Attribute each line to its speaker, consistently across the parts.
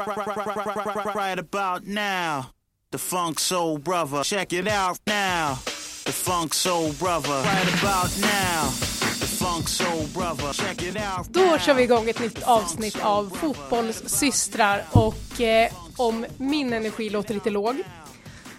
Speaker 1: Right, right, right, right about now, the Funk Soul Brother. Check it out now, the Funk Soul Brother. Right about now, the Funk Soul Brother. Check it out.
Speaker 2: Då kör vi igång ett nytt avsnitt av Fotbollssystrar och eh, om min energi låter lite låg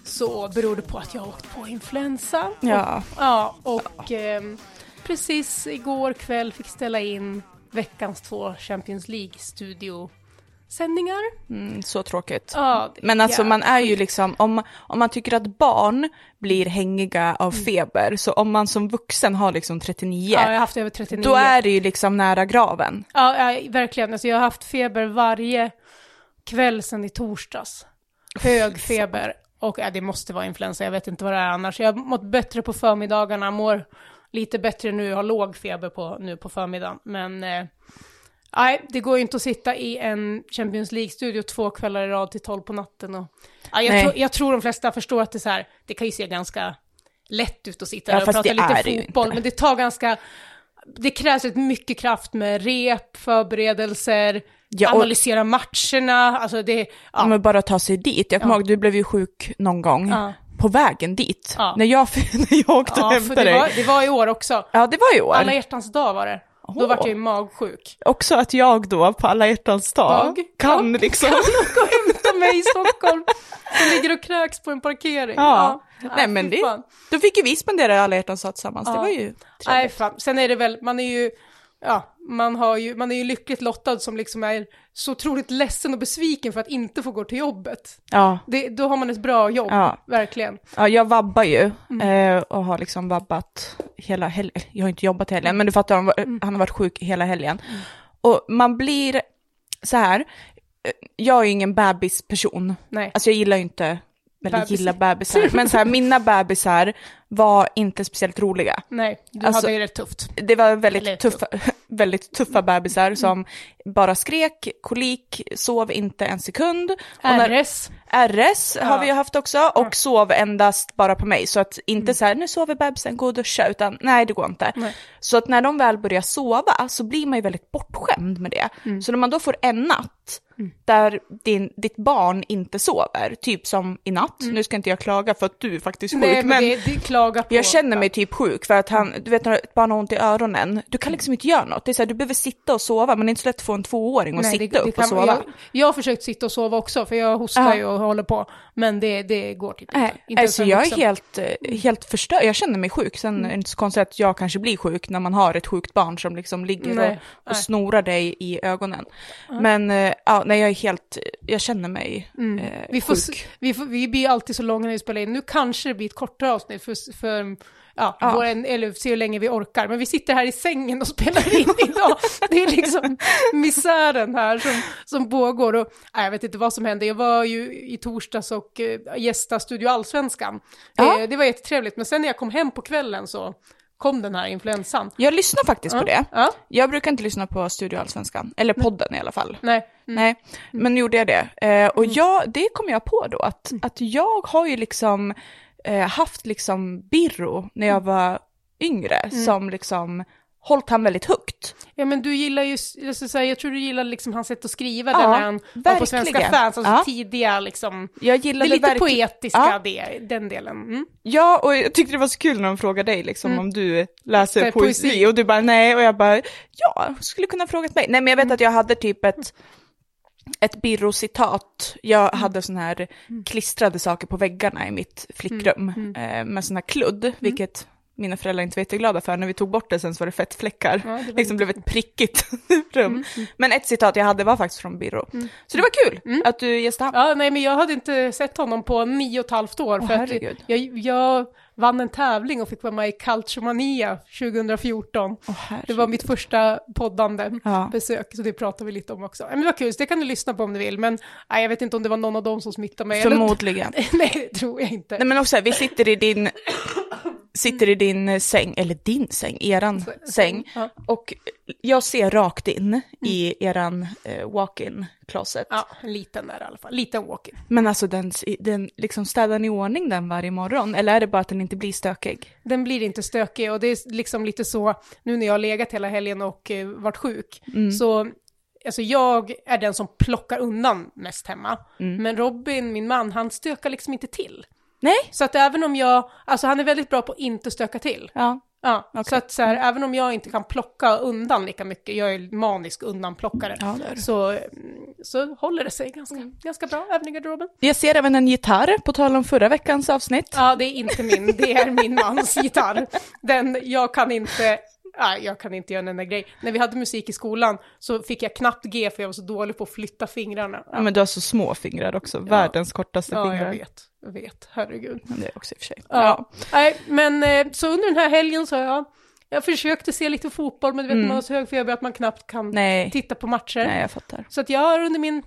Speaker 2: så beror det på att jag har åkt på influensa.
Speaker 3: Ja.
Speaker 2: Ja, och ehm, precis igår kväll fick ställa in veckans två Champions League-studiosändningar.
Speaker 3: Mm, så tråkigt.
Speaker 2: Ja, det-
Speaker 3: Men alltså
Speaker 2: ja.
Speaker 3: man är ju liksom, om, om man tycker att barn blir hängiga av feber, så om man som vuxen har liksom 39,
Speaker 2: Mm. Ja, jag har haft över 39.
Speaker 3: då är det ju liksom nära graven.
Speaker 2: Ja, ja verkligen. Alltså, jag har haft feber varje kväll sedan i torsdags. Hög feber. Och ja, det måste vara influensa, jag vet inte vad det är annars. Jag har mått bättre på förmiddagarna, mår lite bättre nu, jag har låg feber på, nu på förmiddagen. Men eh, nej, det går ju inte att sitta i en Champions League-studio två kvällar i rad till tolv på natten. Och, ja, jag,
Speaker 3: Nej.
Speaker 2: tror- jag tror de flesta förstår att det är så här, det kan ju se ganska lätt ut att sitta
Speaker 3: Ja,
Speaker 2: där och
Speaker 3: fast
Speaker 2: prata
Speaker 3: det är det ju
Speaker 2: lite fotboll,
Speaker 3: inte.
Speaker 2: men det tar ganska det krävs rätt mycket kraft med rep, förberedelser,
Speaker 3: Ja, och-
Speaker 2: analysera matcherna, alltså det, ja,
Speaker 3: Men bara ta sig dit. Jag kommer ihåg, du blev ju sjuk någon gång
Speaker 2: Ja.
Speaker 3: på vägen dit,
Speaker 2: Ja.
Speaker 3: när, jag, när jag åkte och
Speaker 2: ja för
Speaker 3: hämtade
Speaker 2: det,
Speaker 3: dig.
Speaker 2: var, det var i år också.
Speaker 3: Ja, det var i år.
Speaker 2: Alla hjärtans dag var det. Då
Speaker 3: Åh.
Speaker 2: vart jag ju magsjuk.
Speaker 3: Också att jag då, på alla hjärtans dag,
Speaker 2: Dag.
Speaker 3: kan liksom...
Speaker 2: Gå och hämta mig i Stockholm, som ligger och kräks på en parkering.
Speaker 3: Ja. Nej men
Speaker 2: fy
Speaker 3: det,
Speaker 2: fan.
Speaker 3: då fick ju vi spendera alla hjärtans dag tillsammans, det var ju
Speaker 2: Nej, fan. Sen är det väl, man är ju, ja, man, har ju, man är ju lyckligt lottad som liksom är så otroligt ledsen och besviken för att inte få gå till jobbet.
Speaker 3: Ja,
Speaker 2: Det, då har man ett bra jobb,
Speaker 3: Ja.
Speaker 2: verkligen.
Speaker 3: ja jag vabbar ju eh, och har liksom vabbat hela helgen. Jag har inte jobbat i helgen, men du fattar, han, var, han har varit sjuk hela helgen. Och man blir så här, eh, jag är ju ingen bebisperson.
Speaker 2: Nej.
Speaker 3: Alltså jag gillar ju inte, eller
Speaker 2: Bebis.
Speaker 3: gillar bebisar, men så här, mina bebisar var inte speciellt roliga.
Speaker 2: Nej, du
Speaker 3: Alltså-
Speaker 2: hade ju rätt tufft.
Speaker 3: Det var väldigt
Speaker 2: Eller-
Speaker 3: tuffa, väldigt tuffa bebisar som bara skrek, kolik, sov inte en sekund. Och när-
Speaker 2: RS.
Speaker 3: RS har
Speaker 2: Ja. Mm.
Speaker 3: vi ju haft också och sov endast bara på mig. Så att inte så här, nu sover bebisen, gå och duscha, utan nej det går inte.
Speaker 2: Nej.
Speaker 3: Så att när de väl börjar sova så blir man ju väldigt bortskämd med det.
Speaker 2: Mm.
Speaker 3: Så när man då får en natt där din, ditt barn inte sover, typ som i natt, nu ska inte jag klaga för att du är faktiskt sjuk,
Speaker 2: Mm. Nej, men,
Speaker 3: men
Speaker 2: det, det klagar på.
Speaker 3: jag känner mig typ sjuk för att han, du vet när ett barn har ont i öronen, du
Speaker 2: Mm.
Speaker 3: kan liksom inte göra något. Det är så här, du behöver sitta och sova, men det är inte så lätt att få en tvååring att
Speaker 2: Nej,
Speaker 3: sitta
Speaker 2: det- det
Speaker 3: upp
Speaker 2: kan-
Speaker 3: och sova.
Speaker 2: Jag, jag har försökt sitta och sova också, för jag hostar
Speaker 3: Ja.
Speaker 2: ju och håller på. Men det, det går typ inte.
Speaker 3: Nej,
Speaker 2: inte ens
Speaker 3: alltså
Speaker 2: för en
Speaker 3: jag är
Speaker 2: vuxen. Mm.
Speaker 3: helt, eh, helt förstörd, jag känner mig sjuk. Sen är det inte så konstigt att jag kanske blir sjuk när man har ett sjukt barn som liksom ligger
Speaker 2: Nej,
Speaker 3: och,
Speaker 2: nej.
Speaker 3: och snorar dig i ögonen. Men eh, ja, nej, jag är helt, jag känner mig eh,
Speaker 2: Mm. Vi, får,
Speaker 3: sjuk.
Speaker 2: s- vi, får, vi blir alltid så långa när vi spelar in. Nu kanske det blir ett kortare avsnitt för, för ja,
Speaker 3: Ja.
Speaker 2: Vår, eller se hur länge vi orkar. Men vi sitter här i sängen och spelar in idag. Det är liksom misären här som, som pågår. Och, nej, jag vet inte vad som hände. Jag var ju i torsdags och eh, gästade Studio Allsvenskan.
Speaker 3: Ja.
Speaker 2: Eh, det var jättetrevligt. Men sen när jag kom hem på kvällen så kom den här influensan.
Speaker 3: Jag lyssnar faktiskt på det.
Speaker 2: Ja,
Speaker 3: Jag brukar inte lyssna på Studio Allsvenskan, eller podden i alla fall.
Speaker 2: nej.
Speaker 3: Nej,
Speaker 2: Mm.
Speaker 3: men nu gjorde jag det. Eh, och jag, det kom jag på då, att, att jag har ju liksom eh, haft liksom Birro när
Speaker 2: Mm.
Speaker 3: jag var yngre, som liksom hållit han väldigt högt.
Speaker 2: Ja men du gillar ju, jag, ska säga, jag tror du gillar liksom hans sätt att skriva,
Speaker 3: Ja,
Speaker 2: den när han var på
Speaker 3: verkligen.
Speaker 2: Svenska fans, alltså
Speaker 3: Ja.
Speaker 2: tidiga liksom.
Speaker 3: Jag
Speaker 2: Det är
Speaker 3: gillade
Speaker 2: lite
Speaker 3: verkligen-
Speaker 2: poetiska,
Speaker 3: Ja.
Speaker 2: det, den delen. Mm.
Speaker 3: Ja, och jag tyckte det var så kul när de frågade dig liksom, om du läser
Speaker 2: Det är
Speaker 3: poesi.
Speaker 2: Mm. poesi.
Speaker 3: och du bara nej och jag bara ja, skulle kunna ha frågat mig. Nej men jag
Speaker 2: Mm.
Speaker 3: vet att jag hade typ ett ett Birro-citat. Jag
Speaker 2: Mm.
Speaker 3: hade sån här klistrade saker på väggarna i mitt flickrum
Speaker 2: Mm.
Speaker 3: eh, med sån här kludd, vilket mina föräldrar inte var jätteglada för. När vi tog bort det sen så var det fettfläckar.
Speaker 2: Ja, det var
Speaker 3: det
Speaker 2: Mm,
Speaker 3: liksom blev ett prickigt rum. Men ett citat jag hade var faktiskt från Birro. Så det var kul
Speaker 2: Mm.
Speaker 3: att du gästade.
Speaker 2: Ja, nej men jag hade inte sett honom på nio och ett halvt år,
Speaker 3: Åh,
Speaker 2: för att
Speaker 3: herregud.
Speaker 2: jag, jag vann en tävling och fick vara med i Culturemania 2014.
Speaker 3: Åh,
Speaker 2: Det var mitt första poddande
Speaker 3: Ja.
Speaker 2: besök, så det pratar vi lite om också. Ja, Men det var kul, så det kan du lyssna på om du vill, men nej, jag vet inte om det var någon av dem som smittade mig. eller-
Speaker 3: Förmodligen.
Speaker 2: nej, det tror jag inte.
Speaker 3: Nej men också, vi sitter i din, sitter i din eh, säng, eller din säng, eran säng.
Speaker 2: ja. Mm.
Speaker 3: Och jag ser rakt in i eran eh, walk-in closet.
Speaker 2: Ja, en liten där i alla fall. Liten walk-in.
Speaker 3: Men alltså den, den liksom städar ni i ordning den varje morgon? Eller är det bara att den inte blir stökig?
Speaker 2: Den blir inte stökig
Speaker 3: Mm.
Speaker 2: och det är liksom lite så, nu när jag har legat hela helgen och eh, varit sjuk, så alltså jag är den som plockar undan mest hemma.
Speaker 3: Mm.
Speaker 2: Men Robin, min man, han stökar liksom inte till.
Speaker 3: Nej.
Speaker 2: Så att även om jag, alltså han är väldigt bra på att inte stöka till.
Speaker 3: Ja.
Speaker 2: Ja, så att så här,
Speaker 3: Mm.
Speaker 2: även om jag inte kan plocka undan lika mycket, jag är manisk undanplockare,
Speaker 3: Ja, det är du. Mm.
Speaker 2: så, mm, så håller det sig ganska, ganska bra även i garderoben.
Speaker 3: Jag ser även en gitarr, på tal om förra veckans avsnitt.
Speaker 2: Ja, det är inte min, det är min mans gitarr. Den, jag kan inte, nej, jag kan inte göra en enda grej. När vi hade musik i skolan så fick jag knappt G för jag var så dålig på att flytta fingrarna.
Speaker 3: Ja, men du har så små fingrar också, världens kortaste
Speaker 2: Ja, jag
Speaker 3: Mm, fingrar.
Speaker 2: vet, jag vet, herregud.
Speaker 3: Men det är också i och för sig.
Speaker 2: Ja. Nej, men eh, så under den här helgen så har jag, jag försökte se lite fotboll, men du vet man har så hög feber att man knappt kan
Speaker 3: Mm. Nej.
Speaker 2: titta på matcher.
Speaker 3: Nej, jag fattar.
Speaker 2: Så att jag har under min,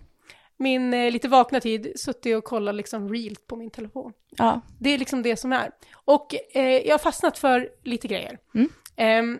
Speaker 2: min eh, lite vakna tid suttit och kollat liksom reelt på min telefon.
Speaker 3: Ja.
Speaker 2: Det är liksom det som är. Och eh, jag har fastnat för lite grejer.
Speaker 3: Mm.
Speaker 2: Ehm,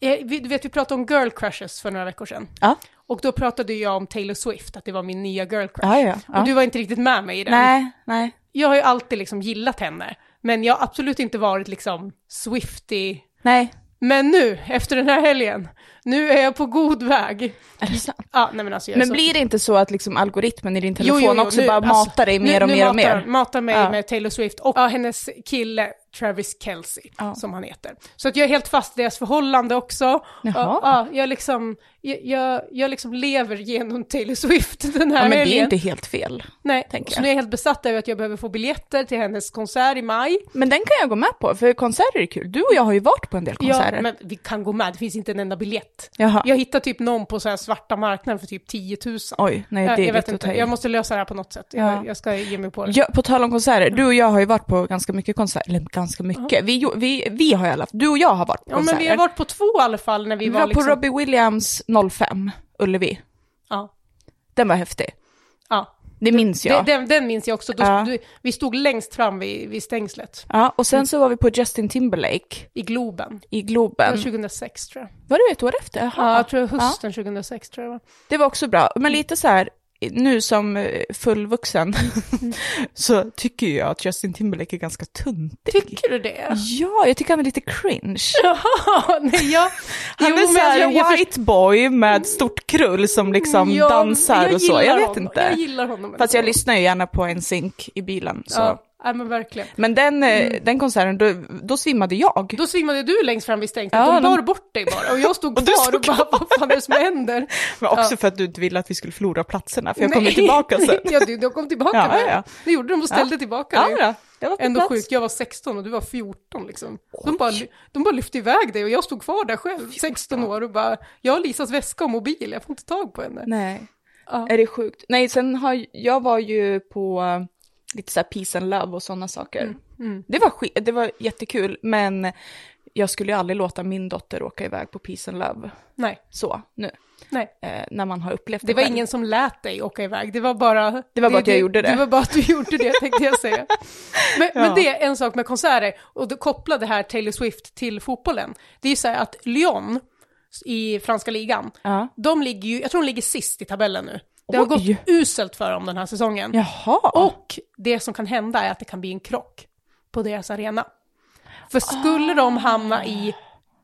Speaker 2: eh, vi, du vet, vi pratade om girl crushes för några veckor sedan.
Speaker 3: Ja.
Speaker 2: Och då pratade ju jag om Taylor Swift, att det var min nya girl crush.
Speaker 3: Ja, ja, ja.
Speaker 2: Och du var inte riktigt med mig i den.
Speaker 3: Nej, nej.
Speaker 2: Jag har ju alltid liksom gillat henne, men jag har absolut inte varit liksom Swifty.
Speaker 3: Nej.
Speaker 2: Men nu, efter den här helgen, nu är jag på god väg.
Speaker 3: Är det sant?
Speaker 2: Ja, nej men alltså jag är
Speaker 3: Men
Speaker 2: så
Speaker 3: blir det inte så att liksom algoritmen i din telefon också
Speaker 2: nu,
Speaker 3: bara
Speaker 2: alltså,
Speaker 3: matar dig
Speaker 2: nu-
Speaker 3: mer och
Speaker 2: nu
Speaker 3: mer och
Speaker 2: matar-
Speaker 3: mer?
Speaker 2: Matar mig
Speaker 3: Ja.
Speaker 2: med Taylor Swift och ja, hennes kille Travis Kelce,
Speaker 3: Ja.
Speaker 2: som han heter. Så att jag är helt fast i deras förhållande också.
Speaker 3: Jaha.
Speaker 2: Ja, ja, jag, liksom, jag, jag, jag liksom lever genom Taylor Swift den här
Speaker 3: Ja, men det är
Speaker 2: helgen.
Speaker 3: inte helt fel.
Speaker 2: Nej,
Speaker 3: tänker
Speaker 2: så
Speaker 3: jag.
Speaker 2: nu är jag helt besatt över att jag behöver få biljetter till hennes konsert i maj.
Speaker 3: Men den kan jag gå med på, för konserter är kul. Du och jag har ju varit på en del konserter.
Speaker 2: Ja, men vi kan gå med, det finns inte en enda biljett.
Speaker 3: Jaha.
Speaker 2: Jag hittar typ någon på så här svarta marknaden för typ 10 000.
Speaker 3: Oj, nej
Speaker 2: jag,
Speaker 3: det
Speaker 2: jag vet
Speaker 3: är lite att
Speaker 2: inte,
Speaker 3: ta i.
Speaker 2: jag måste lösa det här på något sätt.
Speaker 3: Ja.
Speaker 2: Jag, jag ska ge mig på det.
Speaker 3: Ja, på tal om konserter, du och jag har ju varit på ganska mycket konserter, eller ganska mycket, vi, jo- vi, vi har i alla fall, du och jag har varit på
Speaker 2: Ja, men
Speaker 3: konserter.
Speaker 2: vi har varit på två i alla fall när vi,
Speaker 3: Vi
Speaker 2: var,
Speaker 3: var
Speaker 2: liksom...
Speaker 3: på Robbie Williams 05, Ullevi.
Speaker 2: Ja.
Speaker 3: Den var häftig.
Speaker 2: ja.
Speaker 3: Det minns jag.
Speaker 2: Den, den, den minns jag också. Då,
Speaker 3: Ja.
Speaker 2: du, vi stod längst fram vid, vid stängslet
Speaker 3: Ja, och
Speaker 2: Mm.
Speaker 3: sen så var vi på Justin Timberlake
Speaker 2: i Globen.
Speaker 3: i
Speaker 2: Det
Speaker 3: Globen.
Speaker 2: var 2006 tror jag.
Speaker 3: Var det ett år efter? Jaha.
Speaker 2: Ja, jag tror
Speaker 3: Mm. Ja.
Speaker 2: hösten 2006 tror jag det var.
Speaker 3: Det var också bra, men lite så här, nu som eh, fullvuxen så tycker jag att Justin Timberlake är ganska tuntig.
Speaker 2: Tycker du det?
Speaker 3: Ja, jag tycker han är lite cringe.
Speaker 2: Jaha, nej jag...
Speaker 3: Han
Speaker 2: Jo,
Speaker 3: är
Speaker 2: men
Speaker 3: så här
Speaker 2: jag- jag förstår-
Speaker 3: white boy med stort krull som liksom
Speaker 2: Ja,
Speaker 3: dansar och så.
Speaker 2: gillar
Speaker 3: Jag vet
Speaker 2: honom.
Speaker 3: inte.
Speaker 2: Jag gillar honom.
Speaker 3: Fast jag
Speaker 2: ändå.
Speaker 3: lyssnar ju gärna på en synk i bilen. Så.
Speaker 2: Ja, nej, men verkligen.
Speaker 3: Men den, eh, den konserten, då, då svimmade jag.
Speaker 2: Då svimmade du längst fram vid stängslet,
Speaker 3: Ja,
Speaker 2: de
Speaker 3: de-
Speaker 2: bar bort dig bara och jag stod
Speaker 3: Och du
Speaker 2: kvar och
Speaker 3: stod
Speaker 2: bara vad fan är det som händer?
Speaker 3: Men också
Speaker 2: Ja.
Speaker 3: för att du inte ville att vi skulle förlora platserna, för jag kommer
Speaker 2: Nej.
Speaker 3: tillbaka sen.
Speaker 2: ja, du, du kom tillbaka
Speaker 3: Ja,
Speaker 2: med
Speaker 3: ja,
Speaker 2: det.
Speaker 3: ja.
Speaker 2: Det gjorde de och ställde tillbaka
Speaker 3: Ja,
Speaker 2: dig.
Speaker 3: ja, jag var på
Speaker 2: Ändå
Speaker 3: plats.
Speaker 2: sjukt, jag var 16 och du var 14 liksom. De bara, de bara lyfte iväg dig och jag stod kvar där själv, 16 år och bara, jag har Lisas väska och mobil, jag får inte tag på henne.
Speaker 3: Nej.
Speaker 2: Ja.
Speaker 3: Är det sjukt? Nej, sen har ju- jag var ju på eh, lite så här peace and love och sådana saker.
Speaker 2: Mm,
Speaker 3: Det, var skit, det var jättekul, men jag skulle ju aldrig låta min dotter åka iväg på peace and love
Speaker 2: Nej,
Speaker 3: så nu,
Speaker 2: nej.
Speaker 3: eh, när man har upplevt det
Speaker 2: Det var
Speaker 3: själv.
Speaker 2: ingen som lät dig åka iväg, det var bara...
Speaker 3: Det var bara att jag gjorde det.
Speaker 2: Det var bara att du gjorde det, tänkte jag säga. Men, men
Speaker 3: Ja.
Speaker 2: det är en sak med konserter, och då kopplade här Taylor Swift till fotbollen. Det är ju så här att Lyon i franska ligan,
Speaker 3: Ja.
Speaker 2: de ligger ju, jag tror de ligger sist i tabellen nu. Det har
Speaker 3: Oj.
Speaker 2: gått uselt för dem den här säsongen.
Speaker 3: Jaha.
Speaker 2: Och det som kan hända är att det kan bli en krock på deras arena. För skulle
Speaker 3: Ah.
Speaker 2: de hamna i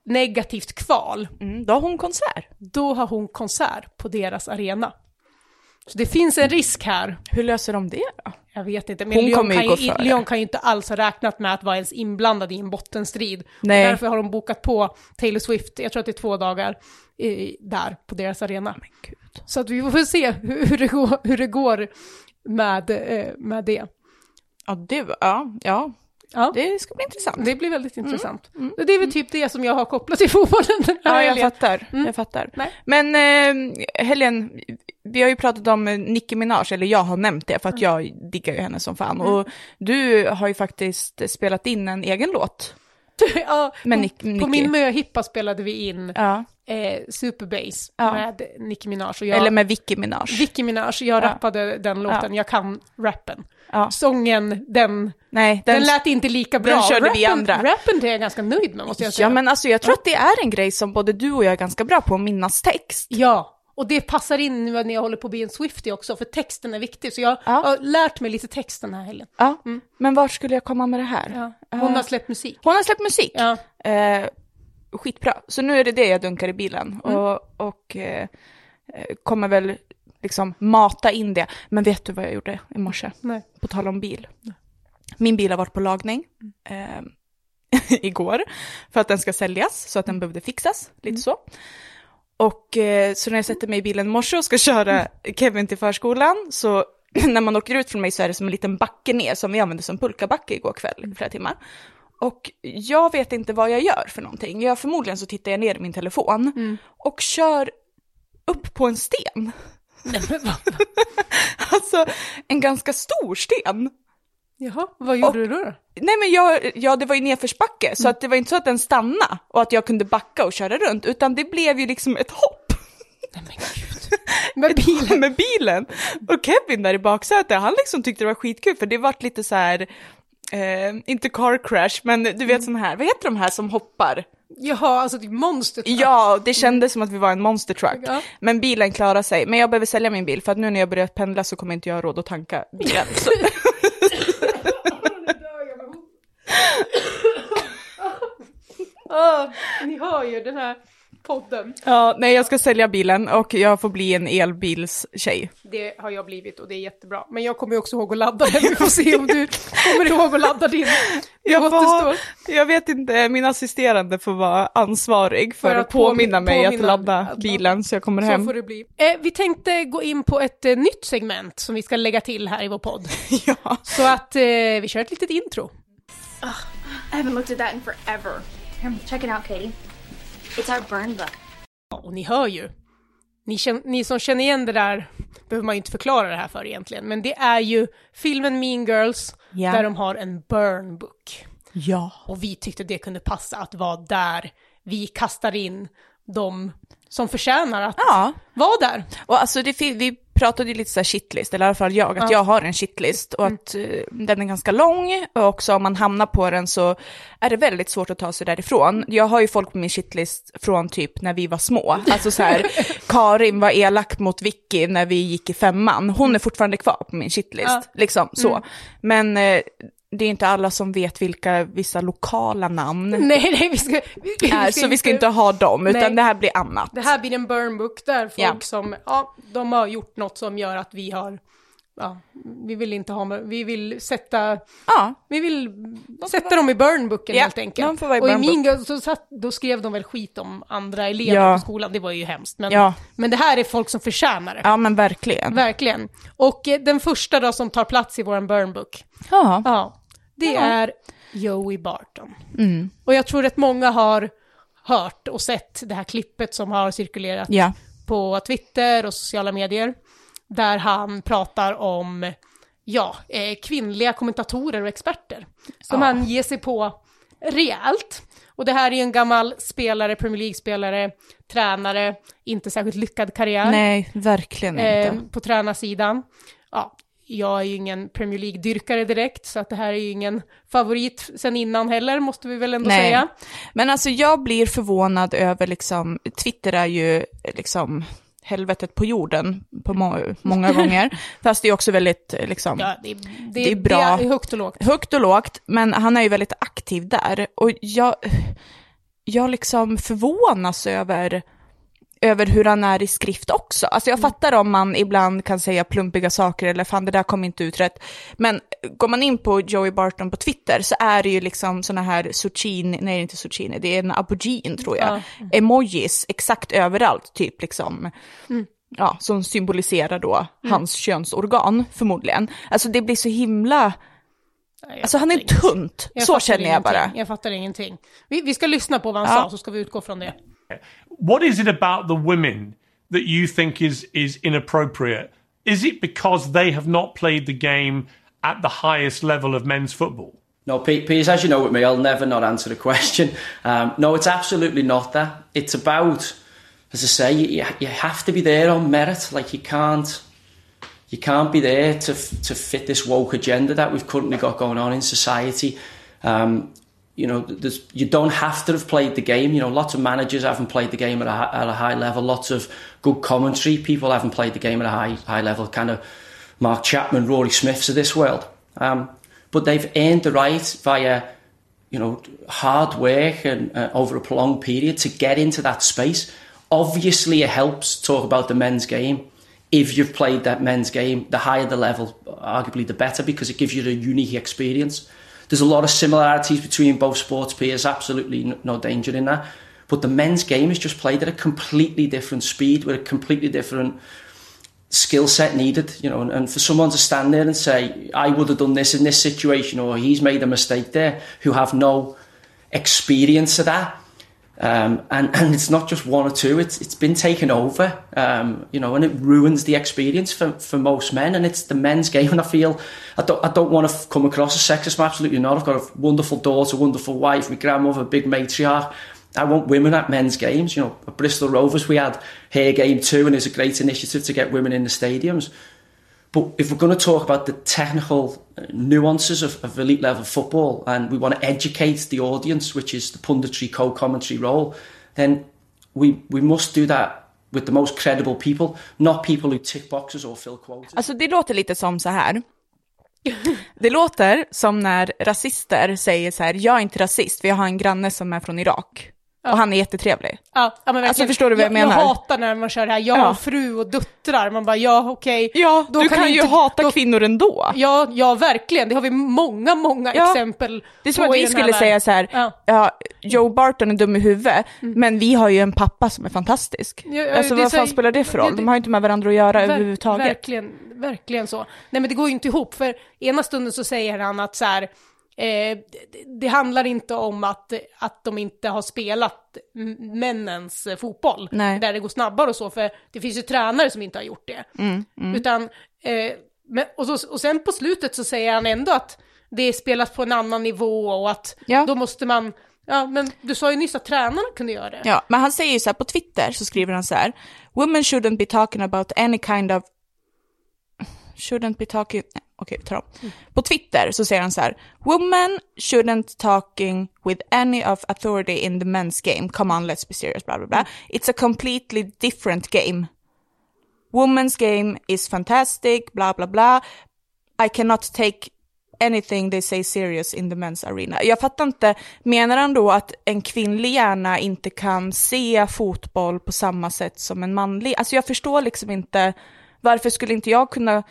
Speaker 2: negativt kval,
Speaker 3: Mm, då har hon konsert.
Speaker 2: då har hon konsert på deras arena. Så det finns en risk här.
Speaker 3: Hur löser de det då?
Speaker 2: Jag vet inte, men
Speaker 3: Hon
Speaker 2: Lyon
Speaker 3: kommer ju
Speaker 2: kan,
Speaker 3: gå
Speaker 2: ju,
Speaker 3: före.
Speaker 2: Lyon kan ju inte alls ha räknat med att vara ens inblandad i en bottenstrid.
Speaker 3: Nej.
Speaker 2: Och därför har de bokat på Taylor Swift, jag tror att det är två dagar, eh, där på deras arena.
Speaker 3: Men gud.
Speaker 2: Så att vi får se hur, hur, det, går, hur det går med, eh, med det.
Speaker 3: Ja, det, ja, ja,
Speaker 2: Ja.
Speaker 3: det ska bli intressant.
Speaker 2: Det blir väldigt
Speaker 3: Mm.
Speaker 2: intressant. Och Det är väl typ det som jag har kopplat till fotbollen den här
Speaker 3: Ja, jag
Speaker 2: helgen.
Speaker 3: fattar. Jag fattar.
Speaker 2: Mm. Nej.
Speaker 3: Men eh, helgen, vi har ju pratat om eh, Nicki Minaj, eller jag har nämnt det för att jag diggar ju henne som fan.
Speaker 2: Mm.
Speaker 3: Och du har ju faktiskt spelat in en egen låt.
Speaker 2: ja,
Speaker 3: Men
Speaker 2: på-
Speaker 3: Nick- Nicki.
Speaker 2: På min möhippa spelade vi in
Speaker 3: Ja.
Speaker 2: eh, Superbass
Speaker 3: Ja.
Speaker 2: med Nicki Minaj. Och jag,
Speaker 3: Eller med Nicki Minaj.
Speaker 2: Nicki Minaj, jag rappade den låten, jag kan rappen.
Speaker 3: Ja.
Speaker 2: Sången, den,
Speaker 3: Nej,
Speaker 2: den,
Speaker 3: den,
Speaker 2: lät inte lika bra.
Speaker 3: körde vi
Speaker 2: rappen,
Speaker 3: andra.
Speaker 2: Rappen är jag ganska nöjd med måste jag säga.
Speaker 3: Ja, men alltså jag tror att det är en grej som både du och jag är ganska bra på att minnas text.
Speaker 2: Ja, och det passar in nu när jag håller på att bli en Swiftie också, för texten är viktig. Så jag
Speaker 3: Ja.
Speaker 2: har lärt mig lite text den här helgen.
Speaker 3: Ja. Men vart skulle jag komma med det här? Eh,
Speaker 2: Hon har släppt musik.
Speaker 3: Hon har släppt musik.
Speaker 2: Ja.
Speaker 3: Eh, skitbra. Så nu är det det jag dunkar i bilen. Och, och eh, eh, kommer väl liksom mata in det. Men vet du vad jag gjorde i morse?
Speaker 2: Nej.
Speaker 3: På tal om bil. Min bil har varit på lagning eh, igår för att den ska säljas så att den behövde fixas, lite så. Och eh, så när jag sätter mig i bilen i morse och ska köra Kevin till förskolan så när man åker ut från mig så är det som en liten backe ner som vi använde som pulkabacke igår kväll i flera timmar. Och jag vet inte vad jag gör för någonting. Jag, förmodligen så tittar jag ner i min telefon och kör upp på en sten.
Speaker 2: Nej, men vad?
Speaker 3: Alltså en ganska stor sten.
Speaker 2: Jaha, vad gjorde du då?
Speaker 3: Nej men jag, ja det var ju nedförsbacke
Speaker 2: Mm.
Speaker 3: så att det var inte så att den stannade och att jag kunde backa och köra runt utan det blev ju liksom ett hopp.
Speaker 2: Nej men gud. Men bilen.
Speaker 3: med bilen. Och Kevin där i baksätet, han liksom tyckte det var skitkul för det vart lite så här, eh, inte car crash, men du
Speaker 2: Mm.
Speaker 3: vet sån här, vad heter de här som hoppar?
Speaker 2: Jaha, alltså det är monstret.
Speaker 3: Ja, det kändes som att vi var en monster truck.
Speaker 2: Ja.
Speaker 3: Men bilen klarade sig. Men jag behöver sälja min bil för att nu när jag börjat pendla så kommer inte jag ha råd att tanka bilen. Så.
Speaker 2: Ah, ni hör ju den här podden.
Speaker 3: Ja, nej jag ska sälja bilen och jag får bli en elbilstjej.
Speaker 2: Det har jag blivit och det är jättebra. Men jag kommer ju också ihåg att ladda den. Vi får se om du kommer ihåg att ladda din. Det
Speaker 3: Jag,
Speaker 2: återstår.
Speaker 3: får, jag vet inte, min assisterande får vara ansvarig för, att påminna mig
Speaker 2: påminna-
Speaker 3: att ladda
Speaker 2: att-
Speaker 3: bilen så jag kommer
Speaker 2: Så
Speaker 3: hem.
Speaker 2: får det bli. Eh, vi tänkte gå in på ett eh, nytt segment som vi ska lägga till här i vår podd.
Speaker 3: Ja.
Speaker 2: Så att eh, vi kör ett litet intro.
Speaker 4: I haven't looked at that in forever. Here, check it out, Katie. It's our burn book.
Speaker 2: Och ni hör ju. Ni, kän- ni som känner igen det där behöver man ju inte förklara det här för egentligen. Men det är ju filmen Mean Girls
Speaker 3: Ja.
Speaker 2: där de har en burn book.
Speaker 3: ja.
Speaker 2: Och vi tyckte det kunde passa att vara där vi kastar in de som förtjänar att
Speaker 3: Ja.
Speaker 2: vara där.
Speaker 3: Och alltså det, fin- vi pratade ju lite så här shitlist, eller i alla fall jag, att jag har en shitlist
Speaker 2: Mm.
Speaker 3: och att eh, den är ganska lång och också om man hamnar på den så är det väldigt svårt att ta sig därifrån. Jag har ju folk på min shitlist från typ när vi var små, alltså så här, Karin var elak mot Vicky när vi gick i femman, hon är fortfarande kvar på min shitlist, liksom så.
Speaker 2: Mm.
Speaker 3: Men eh, det är inte alla som vet vilka vissa lokala namn
Speaker 2: Nej, nej, vi ska... Vi, vi
Speaker 3: är, så vi ska inte ha dem, utan
Speaker 2: Mm. Nej.
Speaker 3: det här blir annat.
Speaker 2: Det här blir en burn book där folk
Speaker 3: Ja.
Speaker 2: som, ja, de har gjort något som gör att vi har, ja, vi vill inte ha, med- vi vill sätta,
Speaker 3: Ja.
Speaker 2: vi vill sätta dem i burn booken
Speaker 3: Ja,
Speaker 2: helt enkelt.
Speaker 3: de får vara i
Speaker 2: och i
Speaker 3: burn
Speaker 2: min grej så satt, då skrev de väl skit om andra elever
Speaker 3: Ja.
Speaker 2: på skolan, det var ju hemskt. Men,
Speaker 3: Ja.
Speaker 2: men det här är folk som förtjänar det.
Speaker 3: ja, men verkligen.
Speaker 2: Verkligen. Och eh, den första då som tar plats i våran burn book,
Speaker 3: Ja. Mm.
Speaker 2: ja, det är Joey Barton. Och jag tror att många har hört och sett det här klippet som har cirkulerat
Speaker 3: Ja.
Speaker 2: på Twitter och sociala medier där han pratar om ja, eh, kvinnliga kommentatorer och experter som
Speaker 3: Ja.
Speaker 2: han ger sig på rejält. Och det här är ju en gammal spelare, Premier League-spelare, tränare, inte särskilt lyckad karriär
Speaker 3: Nej, verkligen
Speaker 2: eh,
Speaker 3: inte.
Speaker 2: på tränarsidan. Ja, jag är ju ingen Premier League-dyrkare direkt, så att det här är ju ingen favorit sen innan heller, måste vi väl ändå
Speaker 3: Nej.
Speaker 2: säga.
Speaker 3: Men alltså jag blir förvånad över liksom, Twitter är ju liksom helvetet på jorden på må- många gånger. Fast det är också väldigt eh, liksom,
Speaker 2: Ja, det, det,
Speaker 3: är bra.
Speaker 2: Det är högt och lågt.
Speaker 3: högt och lågt, men han är ju väldigt aktiv där. Och jag, jag liksom förvånas över, över hur han är i skrift också. Alltså jag fattar om man ibland kan säga plumpiga saker eller fan det där kom inte ut rätt. Men går man in på Joey Barton på Twitter så är det ju liksom sådana här zucchini, nej inte zucchini, det är en aubergine tror jag. Emojis exakt överallt, typ liksom ja, som symboliserar då hans könsorgan förmodligen. Alltså det blir så himla,
Speaker 2: jag
Speaker 3: alltså han är tunt,
Speaker 2: Jag
Speaker 3: så
Speaker 2: fattar
Speaker 3: känner jag bara.
Speaker 2: ingenting. Jag fattar ingenting. Vi, vi ska lyssna på vad han
Speaker 3: Ja.
Speaker 2: sa, så ska vi utgå från det.
Speaker 5: what is it about the women that you think is is inappropriate? Is it because they have not played the game at the highest level of men's football?
Speaker 6: No, Pete, Pete, as you know with me, I'll never not answer the question. Um, no, it's absolutely not that. It's about, as I say, you, you have to be there on merit. Like you can't, you can't be there to f- to fit this woke agenda that we've currently got going on in society. Um, you know, there's, you don't have to have played the game. You know, lots of managers haven't played the game at a, hi- at a high level. Lots of good commentary people haven't played the game at a high high level. Kind of Mark Chapman, Rory Smiths of this world. Um, but they've earned the right via, you know, hard work and uh, over a prolonged period to get into that space. Obviously, it helps to talk about the men's game. If you've played that men's game, the higher the level, arguably the better, because it gives you a unique experience. There's a lot of similarities between both sports peers, absolutely n- no danger in that. But the men's game is just played at a completely different speed, with a completely different skill set needed, you know, and, and for someone to stand there and say, I would have done this in this situation, or he's made a mistake there, who have no experience of that. Um, and, and it's not just one or two, it's, it's been taken over, um, you know, and it ruins the experience for, for most men. And it's the men's game. And I feel I don't, I don't want to come across as sexist, I'm absolutely not. I've got a wonderful daughter, wonderful wife, my grandmother, big matriarch. I want women at men's games. You know, at Bristol Rovers, we had Hair Game 2, and it's a great initiative to get women in the stadiums. But if we're going to talk about the technical uh, nuances of, of elite level football and we want to educate the audience, which is the punditry co commentary role, then we, we must do that with the most credible people, not people who tick boxes or fill quotas.
Speaker 3: Alltså det låter lite som så här. Det låter som när rasister säger så här, jag är inte rasist för jag har en granne som är från Irak. Och han är jättetrevlig.
Speaker 2: Ja, ja, men verkligen.
Speaker 3: Alltså, förstår du vad jag
Speaker 2: Jag
Speaker 3: menar?
Speaker 2: hatar när man kör det här, jag
Speaker 3: Ja.
Speaker 2: har fru och döttrar. Man bara, ja okej.
Speaker 3: Ja,
Speaker 2: Då
Speaker 3: du
Speaker 2: kan
Speaker 3: kan,
Speaker 2: jag
Speaker 3: ju
Speaker 2: inte-
Speaker 3: hata
Speaker 2: då-
Speaker 3: kvinnor ändå.
Speaker 2: Ja, ja, verkligen. Det har vi många, många
Speaker 3: Ja.
Speaker 2: exempel
Speaker 3: Det är som
Speaker 2: på
Speaker 3: att
Speaker 2: i
Speaker 3: vi
Speaker 2: den här
Speaker 3: skulle säga
Speaker 2: världen.
Speaker 3: så här,
Speaker 2: Ja. Mm.
Speaker 3: ja. Joe Barton är dum i huvudet, men vi har ju en pappa som är fantastisk.
Speaker 2: Ja, ja,
Speaker 3: alltså
Speaker 2: det är
Speaker 3: vad
Speaker 2: så-
Speaker 3: fan spelar det för
Speaker 2: det-
Speaker 3: roll? De har ju inte med varandra att göra
Speaker 2: Ver-
Speaker 3: överhuvudtaget.
Speaker 2: Verkligen, verkligen så. Nej men det går ju inte ihop, för ena stunden så säger han att så här, eh, det, det handlar inte om att, att de inte har spelat m- männens eh, fotboll,
Speaker 3: Nej.
Speaker 2: där det går snabbare och så, för det finns ju tränare som inte har gjort det.
Speaker 3: Mm,
Speaker 2: Utan, eh, men, och, så, och sen på slutet så säger han ändå att det spelas på en annan nivå och att
Speaker 3: Ja.
Speaker 2: då måste man, ja men du sa ju nyss att tränarna kunde göra det.
Speaker 3: Ja, men han säger ju så här på Twitter så skriver han så här. Women shouldn't be talking about any kind of... Shouldn't be talking... nej, Okej, vi tar om. På Twitter så säger han så här. Women shouldn't talking with any of authority in the men's game. Come on, let's be serious, bla bla bla. It's a completely different game. Women's game is fantastic, bla bla bla. I cannot take anything they say serious in the men's arena. Jag fattar inte, menar han då att en kvinnlig hjärna inte kan se fotboll på samma sätt som en manlig? Alltså jag förstår liksom inte, varför skulle inte jag kunna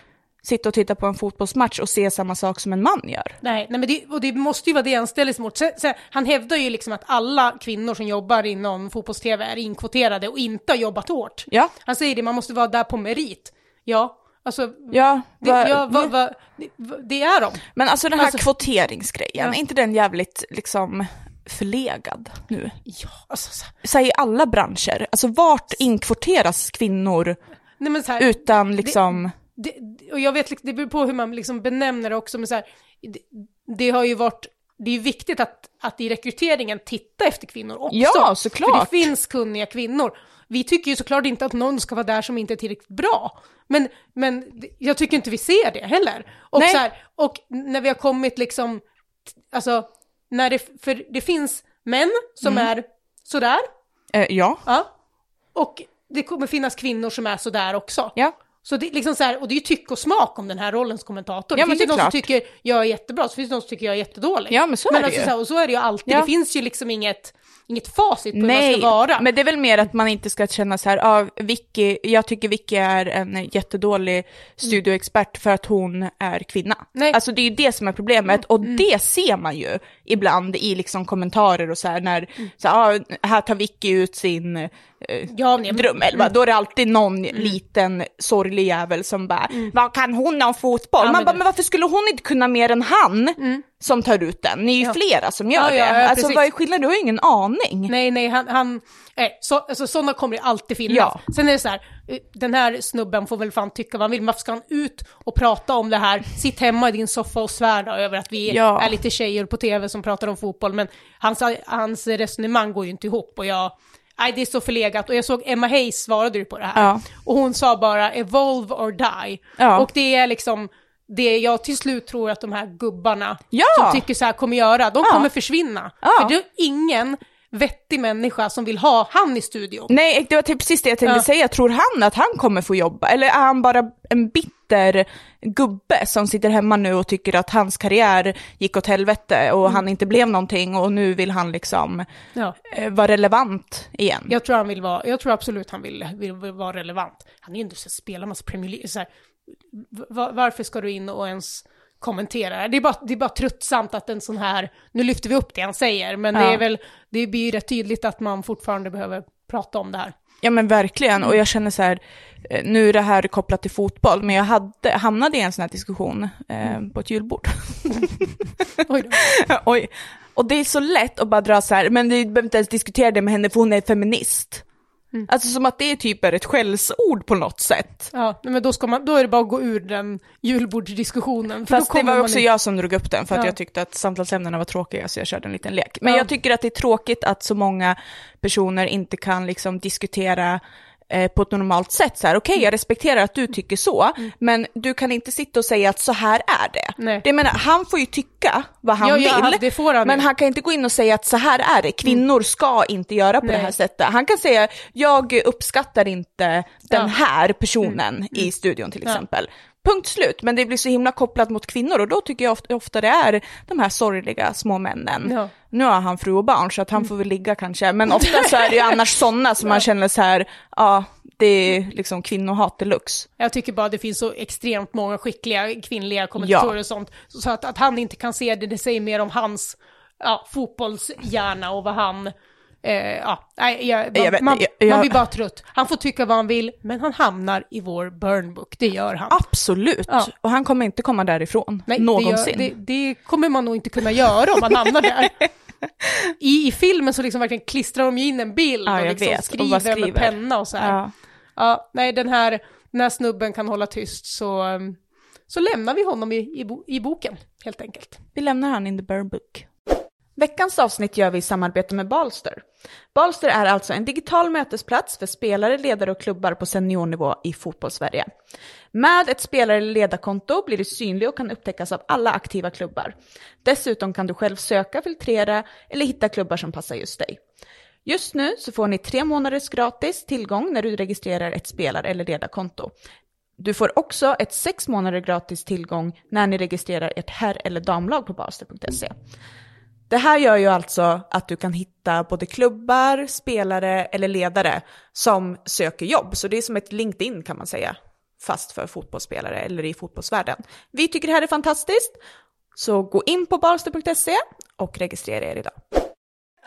Speaker 3: sitta och titta på en fotbollsmatch och se samma sak som en man gör?
Speaker 2: Nej, nej men det, och det måste ju vara det han ställer sig mot. Sen, sen, han hävdar ju liksom att alla kvinnor som jobbar inom fotbolls-tv är inkvoterade och inte har jobbat hårt.
Speaker 3: Ja.
Speaker 2: Han säger det, man måste vara där på merit. Ja, alltså...
Speaker 3: Ja,
Speaker 2: det,
Speaker 3: va-
Speaker 2: ja, va, va, det, va, det är de.
Speaker 3: Men alltså den här
Speaker 2: Alltså-
Speaker 3: kvoteringsgrejen,
Speaker 2: Ja.
Speaker 3: är inte den jävligt liksom förlegad nu?
Speaker 2: Ja, alltså, så,
Speaker 3: Så här, i alla branscher, alltså vart inkvoteras kvinnor
Speaker 2: nej men så här,
Speaker 3: utan liksom...
Speaker 2: det, och jag vet, liksom- det beror på hur man liksom benämner det också, men så här, det, det har ju varit, det är ju viktigt att, att i rekryteringen titta efter kvinnor också.
Speaker 3: Ja, såklart.
Speaker 2: För det finns kunniga kvinnor. Vi tycker ju såklart inte att någon ska vara där som inte är tillräckligt bra, men, men jag tycker inte vi ser det heller. Och,
Speaker 3: Nej.
Speaker 2: så här, och när vi har kommit liksom, alltså, när det, för det finns män som
Speaker 3: Mm.
Speaker 2: är sådär,
Speaker 3: Eh, ja,
Speaker 2: ja, och det kommer finnas kvinnor som är sådär också.
Speaker 3: ja.
Speaker 2: Så det, är liksom så här, och det är ju tyck och smak om den här rollens kommentator.
Speaker 3: Ja,
Speaker 2: det
Speaker 3: men
Speaker 2: finns ju
Speaker 3: det är
Speaker 2: någon som
Speaker 3: klart.
Speaker 2: tycker jag är jättebra, så finns det någon som tycker jag är jättedålig.
Speaker 3: Ja, men så är det
Speaker 2: alltså,
Speaker 3: ju.
Speaker 2: Så här, och så är det ju alltid,
Speaker 3: Ja.
Speaker 2: det finns ju liksom inget, inget facit på typ hur man
Speaker 3: Nej,
Speaker 2: ska vara.
Speaker 3: men det är väl mer att man inte ska känna så här, ah, Vicky, jag tycker Vicky är en jättedålig studioexpert för att hon är kvinna.
Speaker 2: Nej. Mm.
Speaker 3: Alltså det är ju det som är problemet, och det ser man ju ibland i liksom kommentarer och så här när, så här, ah, här tar Vicky ut sin eh,
Speaker 2: Ja, nej, men- Mm.
Speaker 3: drömelva, då är det alltid någon liten sorglig jävel som bara, vad kan hon om fotboll?
Speaker 2: Mm. Ja,
Speaker 3: man
Speaker 2: men
Speaker 3: bara,
Speaker 2: du-
Speaker 3: men varför skulle hon inte kunna mer än han som tar ut den? Ni är ju flera som gör
Speaker 2: Ja,
Speaker 3: det.
Speaker 2: ja, ja,
Speaker 3: alltså
Speaker 2: precis.
Speaker 3: vad är skillnaden? Du har ju ingen aning.
Speaker 2: Nej, nej, han, han nej, så, alltså, sådana kommer det alltid finnas.
Speaker 3: Ja.
Speaker 2: Sen är det så här, eh, den här snubben får väl fan tycka vad han vill, men varför ska han ut och prata om det här? Sitt hemma i din soffa och svär då över att vi
Speaker 3: Ja.
Speaker 2: är lite tjejer på tv som pratar om fotboll, men hans, hans resonemang går ju inte ihop och jag, nej det är så förlegat. Och jag såg Emma Hayes svarade ju på det här,
Speaker 3: Ja.
Speaker 2: och hon sa bara evolve or die.
Speaker 3: Ja.
Speaker 2: Och det är liksom, det jag till slut tror att de här gubbarna
Speaker 3: Ja.
Speaker 2: som tycker så här kommer göra, de
Speaker 3: Ja.
Speaker 2: kommer försvinna.
Speaker 3: Ja.
Speaker 2: För det är ingen vettig människa som vill ha han i studion.
Speaker 3: Nej, det var typ precis det jag tänkte
Speaker 2: Ja.
Speaker 3: säga. Tror han att han kommer få jobba? Eller är han bara en bitter bitter gubbe som sitter hemma nu och tycker att hans karriär gick åt helvete och han inte blev någonting och nu vill han liksom
Speaker 2: Ja.
Speaker 3: eh, vara relevant igen.
Speaker 2: Jag tror han vill vara, jag tror absolut han vill, vill, vill vara relevant. Han är ju ändå så spelar massa Premier League, så här, va- varför ska du in och ens kommentera? Det är, bara, det är bara tröttsamt att en sån här, nu lyfter vi upp det han säger, men det
Speaker 3: Ja.
Speaker 2: är väl, det blir ju rätt tydligt att man fortfarande behöver prata om det här.
Speaker 3: Ja men verkligen,
Speaker 2: Mm.
Speaker 3: och jag känner så här, eh, nu är det här kopplat till fotboll, men jag hade, hamnade i en sån här diskussion eh, på ett julbord.
Speaker 2: Mm. Oj då.
Speaker 3: Oj. Och det är så lätt att bara dra så här, men du behöver inte ens diskutera det med henne för hon är feminist.
Speaker 2: Mm.
Speaker 3: Alltså som att det typ är ett skällsord på något sätt.
Speaker 2: Ja, nej, men då, ska man, då är det bara att gå ur den julbordsdiskussionen. För
Speaker 3: Fast
Speaker 2: då
Speaker 3: det
Speaker 2: kommer
Speaker 3: var
Speaker 2: man
Speaker 3: också
Speaker 2: in-
Speaker 3: jag som drog upp den för att
Speaker 2: Ja.
Speaker 3: jag tyckte att samtalsämnena var tråkiga så jag körde en liten lek. Men
Speaker 2: Ja.
Speaker 3: jag tycker att det är tråkigt att så många personer inte kan liksom diskutera eh, på ett normalt sätt så här, okej
Speaker 2: Mm.
Speaker 3: jag respekterar att du tycker så, men du kan inte sitta och säga att så här är det.
Speaker 2: Nej.
Speaker 3: Det menar, han får ju tycka vad han
Speaker 2: Ja,
Speaker 3: vill,
Speaker 2: ja, det får han
Speaker 3: men
Speaker 2: ju. Mm.
Speaker 3: han kan inte gå in och säga att så här är det, kvinnor ska inte göra på det
Speaker 2: Nej.
Speaker 3: här sättet. Han kan säga, jag uppskattar inte den
Speaker 2: Ja. Mm.
Speaker 3: här personen i studion till exempel. Punkt slut, men det blir så himla kopplat mot kvinnor och då tycker jag ofta, ofta det är de här sorgliga små männen.
Speaker 2: Ja. Mm.
Speaker 3: Nu har han fru och barn så att han får väl ligga kanske, men ofta så är det ju annars sådana som man känner så här, ja, det är liksom kvinnohat deluxe.
Speaker 2: Jag tycker bara det finns så extremt många skickliga kvinnliga kommentatorer
Speaker 3: Ja.
Speaker 2: och sånt. Så att, att han inte kan se det, det säger mer om hans ja, fotbollshjärna och vad han... Eh, ja, nej, jag, man,
Speaker 3: Jag vet-
Speaker 2: man,
Speaker 3: jag- jag-
Speaker 2: man blir bara trött. Han får tycka vad han vill, men han hamnar i vår burnbook. Det gör han.
Speaker 3: Ah, Absolut,
Speaker 2: Ja.
Speaker 3: och han kommer inte komma därifrån
Speaker 2: Nej,
Speaker 3: någonsin.
Speaker 2: Det, gör, det, det kommer man nog inte kunna göra om man hamnar där. I, I filmen så liksom verkligen klistrar de ju in en bild
Speaker 3: Ja,
Speaker 2: och
Speaker 3: jag
Speaker 2: liksom
Speaker 3: vet. Och
Speaker 2: skriver,
Speaker 3: bara
Speaker 2: med
Speaker 3: skriver.
Speaker 2: penna och så här.
Speaker 3: Ja.
Speaker 2: Ja, nej, den här, den här snubben kan hålla tyst så, um, så lämnar vi honom i, i, bo, i boken helt enkelt.
Speaker 3: Vi lämnar han in the burn book. Veckans avsnitt gör vi i samarbete med Balster. Balster är alltså en digital mötesplats för spelare, ledare och klubbar på seniornivå i fotbollssverige. Med ett spelare eller ledarkonto blir du synlig och kan upptäckas av alla aktiva klubbar. Dessutom kan du själv söka, filtrera eller hitta klubbar som passar just dig. Just nu så får ni tre månaders gratis tillgång när du registrerar ett spelar eller ledarkonto. Du får också ett sex månader gratis tillgång när ni registrerar ert herr eller damlag på baster.se. Det här gör ju alltså att du kan hitta både klubbar, spelare eller ledare som söker jobb. Så det är som ett LinkedIn kan man säga, fast för fotbollsspelare eller i fotbollsvärlden. Vi tycker det här är fantastiskt, så gå in på baster.se och registrera er idag.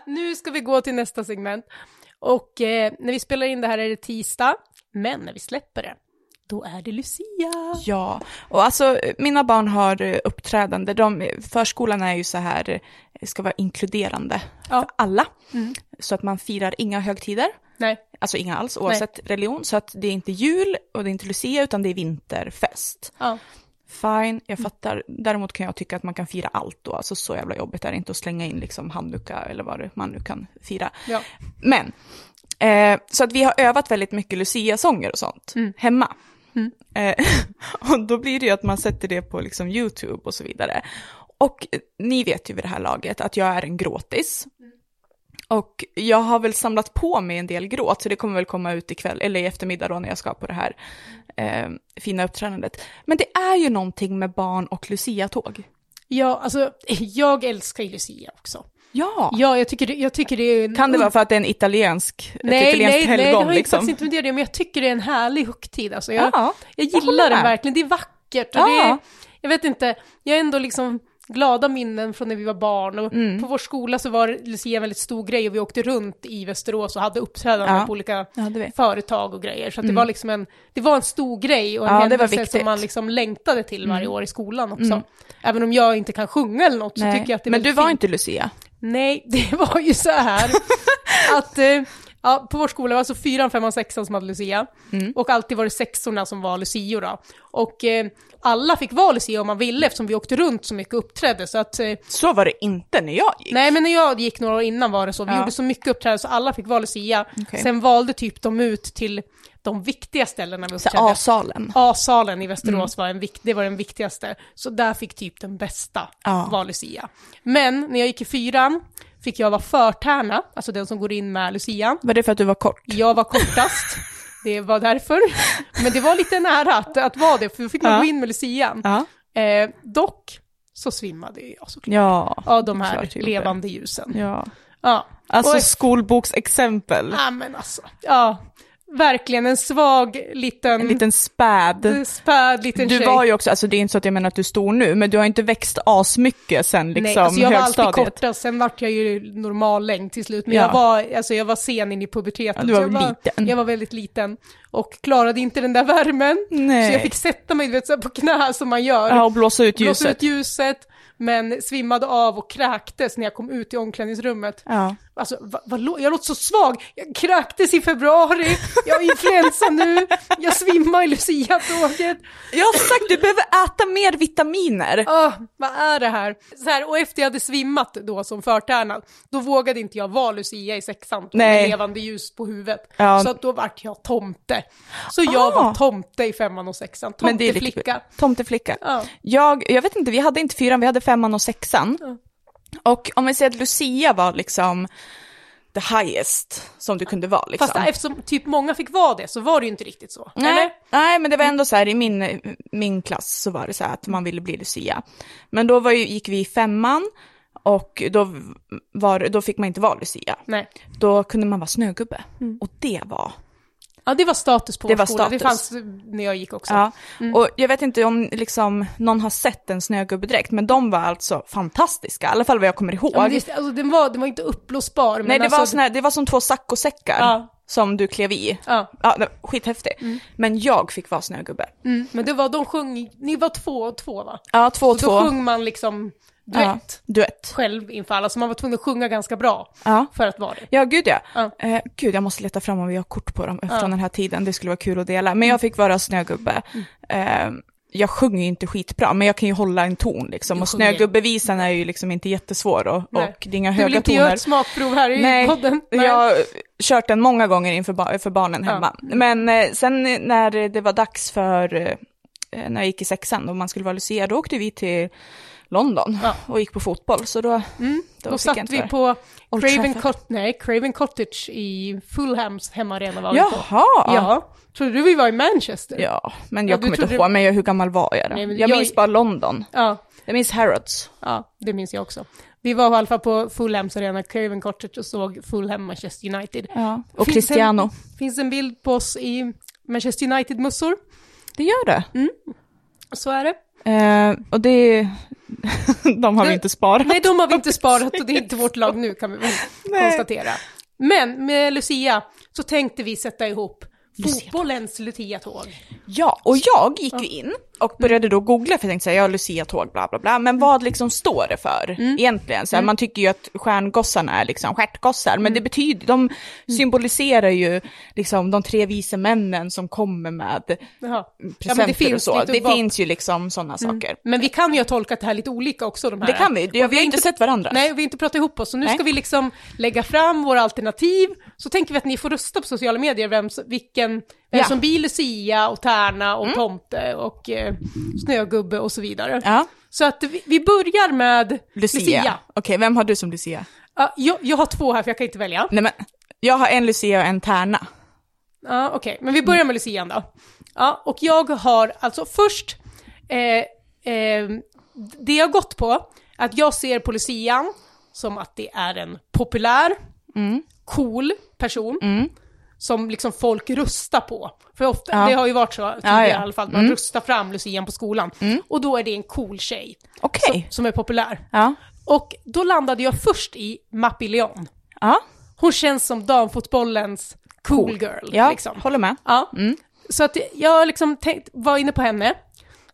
Speaker 2: Nu ska vi gå till nästa segment. Och eh, när vi spelar in det här är det tisdag, men när vi släpper det, då är det Lucia.
Speaker 3: Ja, och alltså mina barn har eh, uppträdande. De, förskolan är ju så här, eh, ska vara inkluderande
Speaker 2: Ja. Mm.
Speaker 3: för alla. Så att man firar inga högtider,
Speaker 2: Nej,
Speaker 3: alltså inga alls, oavsett religion. Så att det är inte jul och det är inte lucia, utan det är vinterfest.
Speaker 2: ja.
Speaker 3: Fine, jag
Speaker 2: Mm.
Speaker 3: fattar. Däremot kan jag tycka att man kan fira allt då. Alltså så jävla jobbigt är det inte att slänga in liksom handdukar eller vad det, man nu kan fira.
Speaker 2: Ja.
Speaker 3: Men, eh, så att vi har övat väldigt mycket Lucia-sånger och sånt
Speaker 2: Mm.
Speaker 3: hemma. Eh, och då blir det ju att man sätter det på liksom YouTube och så vidare. Och eh, ni vet ju vid det här laget att jag är en gråtis. Och jag har väl samlat på mig en del gråt, så det kommer väl komma ut ikväll, eller i eftermiddag då när jag ska på det här eh, fina uppträdandet. Men det är ju någonting med barn och Lucia-tåg.
Speaker 2: ja, alltså jag älskar ju Lucia också.
Speaker 3: Ja!
Speaker 2: Ja, jag tycker, det- jag tycker det är... en
Speaker 3: Kan det vara för att det är en italiensk, ett
Speaker 2: Nej, nej,
Speaker 3: italienskt
Speaker 2: nej, det har
Speaker 3: helgon
Speaker 2: ju
Speaker 3: liksom?
Speaker 2: faktiskt inte med det att göra, men jag tycker det är en härlig högtid. Alltså, jag,
Speaker 3: Ja,
Speaker 2: jag
Speaker 3: jag håller
Speaker 2: gillar den
Speaker 3: med.
Speaker 2: verkligen, det är vackert. Och
Speaker 3: Ja.
Speaker 2: det är, jag vet inte, jag är ändå liksom glada minnen från när vi var barn. Och
Speaker 3: Mm.
Speaker 2: På vår skola så var Lucia en väldigt stor grej och vi åkte runt i Västerås och hade uppträdanden
Speaker 3: Ja.
Speaker 2: på olika
Speaker 3: Ja, det vet. Mm.
Speaker 2: företag och grejer. Så att det var liksom en, det var en stor grej och en
Speaker 3: Ja, det var
Speaker 2: händelse
Speaker 3: viktigt. Mm.
Speaker 2: som man liksom längtade till varje år i skolan också. Även om jag inte kan sjunga eller något så
Speaker 3: Nej.
Speaker 2: tycker jag att det är
Speaker 3: Men du
Speaker 2: väldigt
Speaker 3: var
Speaker 2: fint.
Speaker 3: inte Lucia?
Speaker 2: Nej, det var ju så här att eh, ja, på vår skola var det alltså fyran, femman, sexan som hade Lucia.
Speaker 3: Mm.
Speaker 2: Och alltid var det sexorna som var Lucio då. Och eh, alla fick vara Lucia om man ville eftersom vi åkte runt så mycket och uppträdde. Så att, eh,
Speaker 3: Så var det inte när jag gick.
Speaker 2: nej men när jag gick några år innan var det så. Vi
Speaker 3: Ja.
Speaker 2: gjorde så mycket uppträdande så alla fick vara Lucia.
Speaker 3: Okej.
Speaker 2: Sen valde typ de ut till de viktiga ställena vi
Speaker 3: Så
Speaker 2: uppträdde.
Speaker 3: A-salen.
Speaker 2: A-salen i Västerås
Speaker 3: Mm.
Speaker 2: var, en vik- det var den viktigaste, så där fick typ den bästa
Speaker 3: Ja.
Speaker 2: vara Lucia. Men när jag gick i fyran fick jag vara förtärna, alltså den som går in med Lucia.
Speaker 3: Var det för att du var kort?
Speaker 2: Jag var kortast, det var därför. Men det var lite nära att, att vara det, för då fick man
Speaker 3: Ja.
Speaker 2: gå in med lucian.
Speaker 3: Ja.
Speaker 2: Eh, dock så svimmade ju jag såklart.
Speaker 3: Ja.
Speaker 2: Av de
Speaker 3: klart
Speaker 2: här
Speaker 3: du gjorde.
Speaker 2: levande ljusen.
Speaker 3: ja.
Speaker 2: Ja.
Speaker 3: Alltså
Speaker 2: Oj.
Speaker 3: skolboksexempel.
Speaker 2: ja, men alltså. Ja, verkligen en svag liten,
Speaker 3: En liten späd.
Speaker 2: späd liten
Speaker 3: Du
Speaker 2: mm. tjej.
Speaker 3: var ju också, alltså det är inte så att jag menar att du är stor nu, men du har inte växt asmycket sen liksom
Speaker 2: Nej, alltså jag var alltid
Speaker 3: högstadiet.
Speaker 2: kortast, sen vart jag ju normal längd till slut. Men
Speaker 3: Ja.
Speaker 2: jag, var, alltså jag var sen in i puberteten.
Speaker 3: Ja, du var
Speaker 2: så jag,
Speaker 3: liten.
Speaker 2: jag var väldigt liten och klarade inte den där värmen.
Speaker 3: Nej.
Speaker 2: Så jag fick sätta mig du vet, så här på knä som man gör.
Speaker 3: Ja, och blåsa ut
Speaker 2: Blåsa
Speaker 3: ljuset.
Speaker 2: ut ljuset, men svimmade av och kräktes när jag kom ut i omklädningsrummet.
Speaker 3: Ja.
Speaker 2: Alltså, va, vad lå- jag låter så svag. Jag kräktes i februari, jag har influensa nu, jag svimmar i luciatåget.
Speaker 3: Jag har sagt, du behöver äta mer vitaminer.
Speaker 2: Åh, vad är det här? Så här? Och efter jag hade svimmat då som förtärnad, då vågade inte jag vara Lucia i sexan
Speaker 3: Nej.
Speaker 2: med levande ljus på huvudet.
Speaker 3: Ja.
Speaker 2: Så att då vart jag tomte. Så jag
Speaker 3: Ah.
Speaker 2: var tomte i femman och sexan,
Speaker 3: Men det är lite-
Speaker 2: tomteflicka.
Speaker 3: Tomteflicka.
Speaker 2: Ja.
Speaker 3: Jag, jag vet inte, vi hade inte fyran, vi hade femman och sexan. Och om vi säger att Lucia var liksom the highest som du kunde vara liksom.
Speaker 2: Fast eftersom typ många fick vara det så var det ju inte riktigt så.
Speaker 3: Nej,
Speaker 2: Eller?
Speaker 3: nej, men det var ändå så här i min, min klass så var det så här att man ville bli Lucia. Men då var ju, gick vi i femman och då, var, då fick man inte vara Lucia.
Speaker 2: Nej.
Speaker 3: Då kunde man vara snögubbe. Och det var...
Speaker 2: Ja, det var status på
Speaker 3: Det
Speaker 2: vår
Speaker 3: var
Speaker 2: skola. Det
Speaker 3: status.
Speaker 2: fanns eh, när jag gick också.
Speaker 3: Ja.
Speaker 2: Mm.
Speaker 3: Och jag vet inte om liksom, någon har sett en snögubbedräkt, men de var alltså fantastiska. I alla fall vad jag kommer ihåg.
Speaker 2: Ja, men det, alltså, den, var, den var inte uppblåsbar. Men
Speaker 3: Nej, det,
Speaker 2: alltså,
Speaker 3: var sån här, det var som två saccosäckar
Speaker 2: Ja.
Speaker 3: som du klev i.
Speaker 2: Ja.
Speaker 3: Ja, det var skithäftig. Men jag fick vara snögubbe.
Speaker 2: Mm, men det var, de sjöng, ni var två och två va?
Speaker 3: Ja, två och
Speaker 2: Så
Speaker 3: två.
Speaker 2: då sjöng man liksom duett.
Speaker 3: Ja, duett.
Speaker 2: själv inför alla, så man var tvungen att sjunga ganska bra
Speaker 3: Ja.
Speaker 2: för att vara det.
Speaker 3: Ja, gud ja.
Speaker 2: Ja.
Speaker 3: Eh, gud, jag måste leta fram om vi har kort på dem från den här tiden. Det skulle vara kul att dela.
Speaker 2: Mm.
Speaker 3: Men jag fick vara snögubbe. Eh, jag sjunger ju inte skitbra, men jag kan ju hålla en ton liksom. Och
Speaker 2: sjunger.
Speaker 3: snögubbevisan är ju liksom inte jättesvår och,
Speaker 2: Nej.
Speaker 3: och det är inga
Speaker 2: Du vill
Speaker 3: höga
Speaker 2: inte göra
Speaker 3: toner.
Speaker 2: ett smakprov här i
Speaker 3: Nej,
Speaker 2: podden?
Speaker 3: jag har kört den många gånger inför ba- för barnen hemma. Men eh, sen när det var dags för, eh, när jag gick i sexan och man skulle vara Lucia, då åkte vi till London
Speaker 2: Ja. Mm.
Speaker 3: och gick på fotboll. Så då, då,
Speaker 2: Då
Speaker 3: fick jag
Speaker 2: satt
Speaker 3: inte
Speaker 2: vi
Speaker 3: vara-
Speaker 2: på
Speaker 3: Old
Speaker 2: Craven,
Speaker 3: Trafford.
Speaker 2: Cot- nej, Craven Cottage i Fulhams hemmaarena var vi på.
Speaker 3: Jaha!
Speaker 2: Ja. Trodde du vi var i Manchester?
Speaker 3: Ja, men
Speaker 2: Ja,
Speaker 3: jag
Speaker 2: du
Speaker 3: kommer inte
Speaker 2: trodde-
Speaker 3: ihåg, men jag, hur gammal var jag då?
Speaker 2: Nej, men
Speaker 3: jag,
Speaker 2: jag-
Speaker 3: minns bara London.
Speaker 2: Ja,
Speaker 3: Jag minns Harrods.
Speaker 2: ja, det minns jag också. Vi var i alla fall på Fulhams arena, Craven Cottage, och såg Fulham Manchester United.
Speaker 3: Ja. Och
Speaker 2: Finns
Speaker 3: Cristiano.
Speaker 2: En, finns en bild på oss i Manchester United-mössor,
Speaker 3: Det gör det.
Speaker 2: Mm. så är det.
Speaker 3: Eh, och det... De har vi inte sparat.
Speaker 2: Nej, de har vi inte sparat och det är inte vårt lag nu kan vi väl konstatera. Men med Lucia så tänkte vi sätta ihop fotbollens Lucia-tåg.
Speaker 3: Ja, och jag gick ju in och började då googla för jag tänkte säga ja, Lucia-tåg, bla bla bla.
Speaker 2: Mm.
Speaker 3: Men vad liksom står det för egentligen? Så här, Man tycker ju att stjärngossarna är liksom stjärtgossar, men det
Speaker 2: Mm.
Speaker 3: betyder, de symboliserar ju liksom de tre vise männen som kommer med
Speaker 2: Jaha. Ja, men det
Speaker 3: presenter och
Speaker 2: finns
Speaker 3: så.
Speaker 2: lite Mm.
Speaker 3: Det
Speaker 2: bak-
Speaker 3: finns ju liksom sådana saker.
Speaker 2: Men vi kan ju ha tolkat det här lite olika också. De här.
Speaker 3: Det kan vi, vi har
Speaker 2: Och
Speaker 3: ju inte sett varandra.
Speaker 2: Nej, vi har inte pratat ihop oss. Så nu
Speaker 3: Nej.
Speaker 2: ska vi liksom lägga fram våra alternativ. Så tänker vi att ni får rösta på sociala medier vem, som- vilken, vem
Speaker 3: Ja. Mm.
Speaker 2: som blir Lucia och Tärna och Tomte och eh, Snögubbe och så vidare.
Speaker 3: Ja.
Speaker 2: Så att vi, vi börjar med
Speaker 3: Lucia.
Speaker 2: Lucia.
Speaker 3: Okej, vem har du som Lucia?
Speaker 2: Ja, jag, jag har två här för jag kan inte välja.
Speaker 3: Nej men, jag har en Lucia och en Tärna.
Speaker 2: Ja, okej. Men vi börjar med lucian då. Ja, och jag har alltså först, eh, eh, det jag har gått på, att jag ser på lucian som att det är en populär,
Speaker 3: Mm.
Speaker 2: cool person. Som liksom folk rustar på. För ofta,
Speaker 3: Ja.
Speaker 2: det har ju varit så tidigare
Speaker 3: Ja, Mm. ja.
Speaker 2: i alla fall, att man rustar fram lucian på skolan. Och då är det en cool tjej
Speaker 3: Okej.
Speaker 2: som är populär.
Speaker 3: Ja.
Speaker 2: Och då landade jag först i Mapillon.
Speaker 3: Ja.
Speaker 2: Hon känns som damfotbollens cool girl.
Speaker 3: Ja, Mm.
Speaker 2: liksom.
Speaker 3: håller med.
Speaker 2: Ja. Så att jag liksom tänkt, var inne på henne.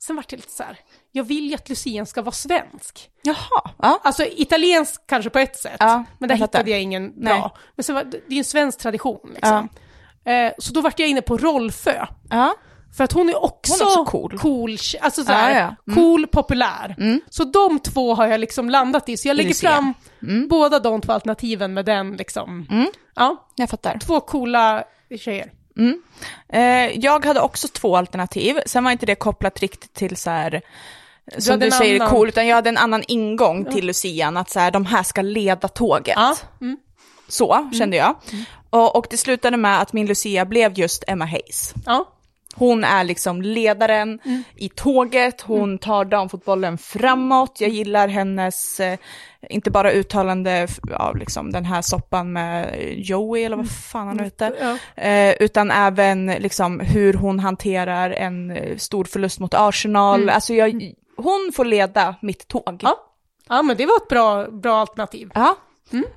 Speaker 2: Sen vart det lite så här, jag vill ju att Lucian ska vara svensk.
Speaker 3: Jaha. Ja.
Speaker 2: Alltså italiensk kanske på ett sätt,
Speaker 3: Ja,
Speaker 2: men där
Speaker 3: jag fattar.
Speaker 2: hittade jag ingen
Speaker 3: Nej.
Speaker 2: bra. Men sen var, det är ju en svensk tradition liksom. Eh, så då vart jag inne på Rolfö.
Speaker 3: ja.
Speaker 2: För att hon är också,
Speaker 3: Hon är också cool.
Speaker 2: tje- alltså så här,
Speaker 3: Ja, ja. Mm.
Speaker 2: cool, populär. Så de två har jag liksom landat i, så jag lägger
Speaker 3: Lucia.
Speaker 2: fram
Speaker 3: Mm.
Speaker 2: båda de två alternativen med den liksom. Ja,
Speaker 3: Jag fattar.
Speaker 2: två coola tjejer.
Speaker 3: Eh, jag hade också två alternativ, sen var inte det kopplat riktigt till så här som
Speaker 2: hade
Speaker 3: du
Speaker 2: en
Speaker 3: säger
Speaker 2: annan.
Speaker 3: cool, utan jag hade en annan ingång till lucian, att så här, de här ska leda tåget.
Speaker 2: Ja. Mm.
Speaker 3: Så kände jag. Och, och det slutade med att min Lucia blev just Emma Hayes.
Speaker 2: Ja.
Speaker 3: Hon är liksom ledaren i tåget, hon tar damfotbollen framåt. Jag gillar hennes, eh, inte bara uttalande f- av liksom den här soppan med Joey eller vad fan han nu hette, eh, utan även liksom hur hon hanterar en eh, stor förlust mot Arsenal. Alltså jag, hon får leda mitt tåg.
Speaker 2: Ja. ja, men det var ett bra, bra alternativ.
Speaker 3: Ja.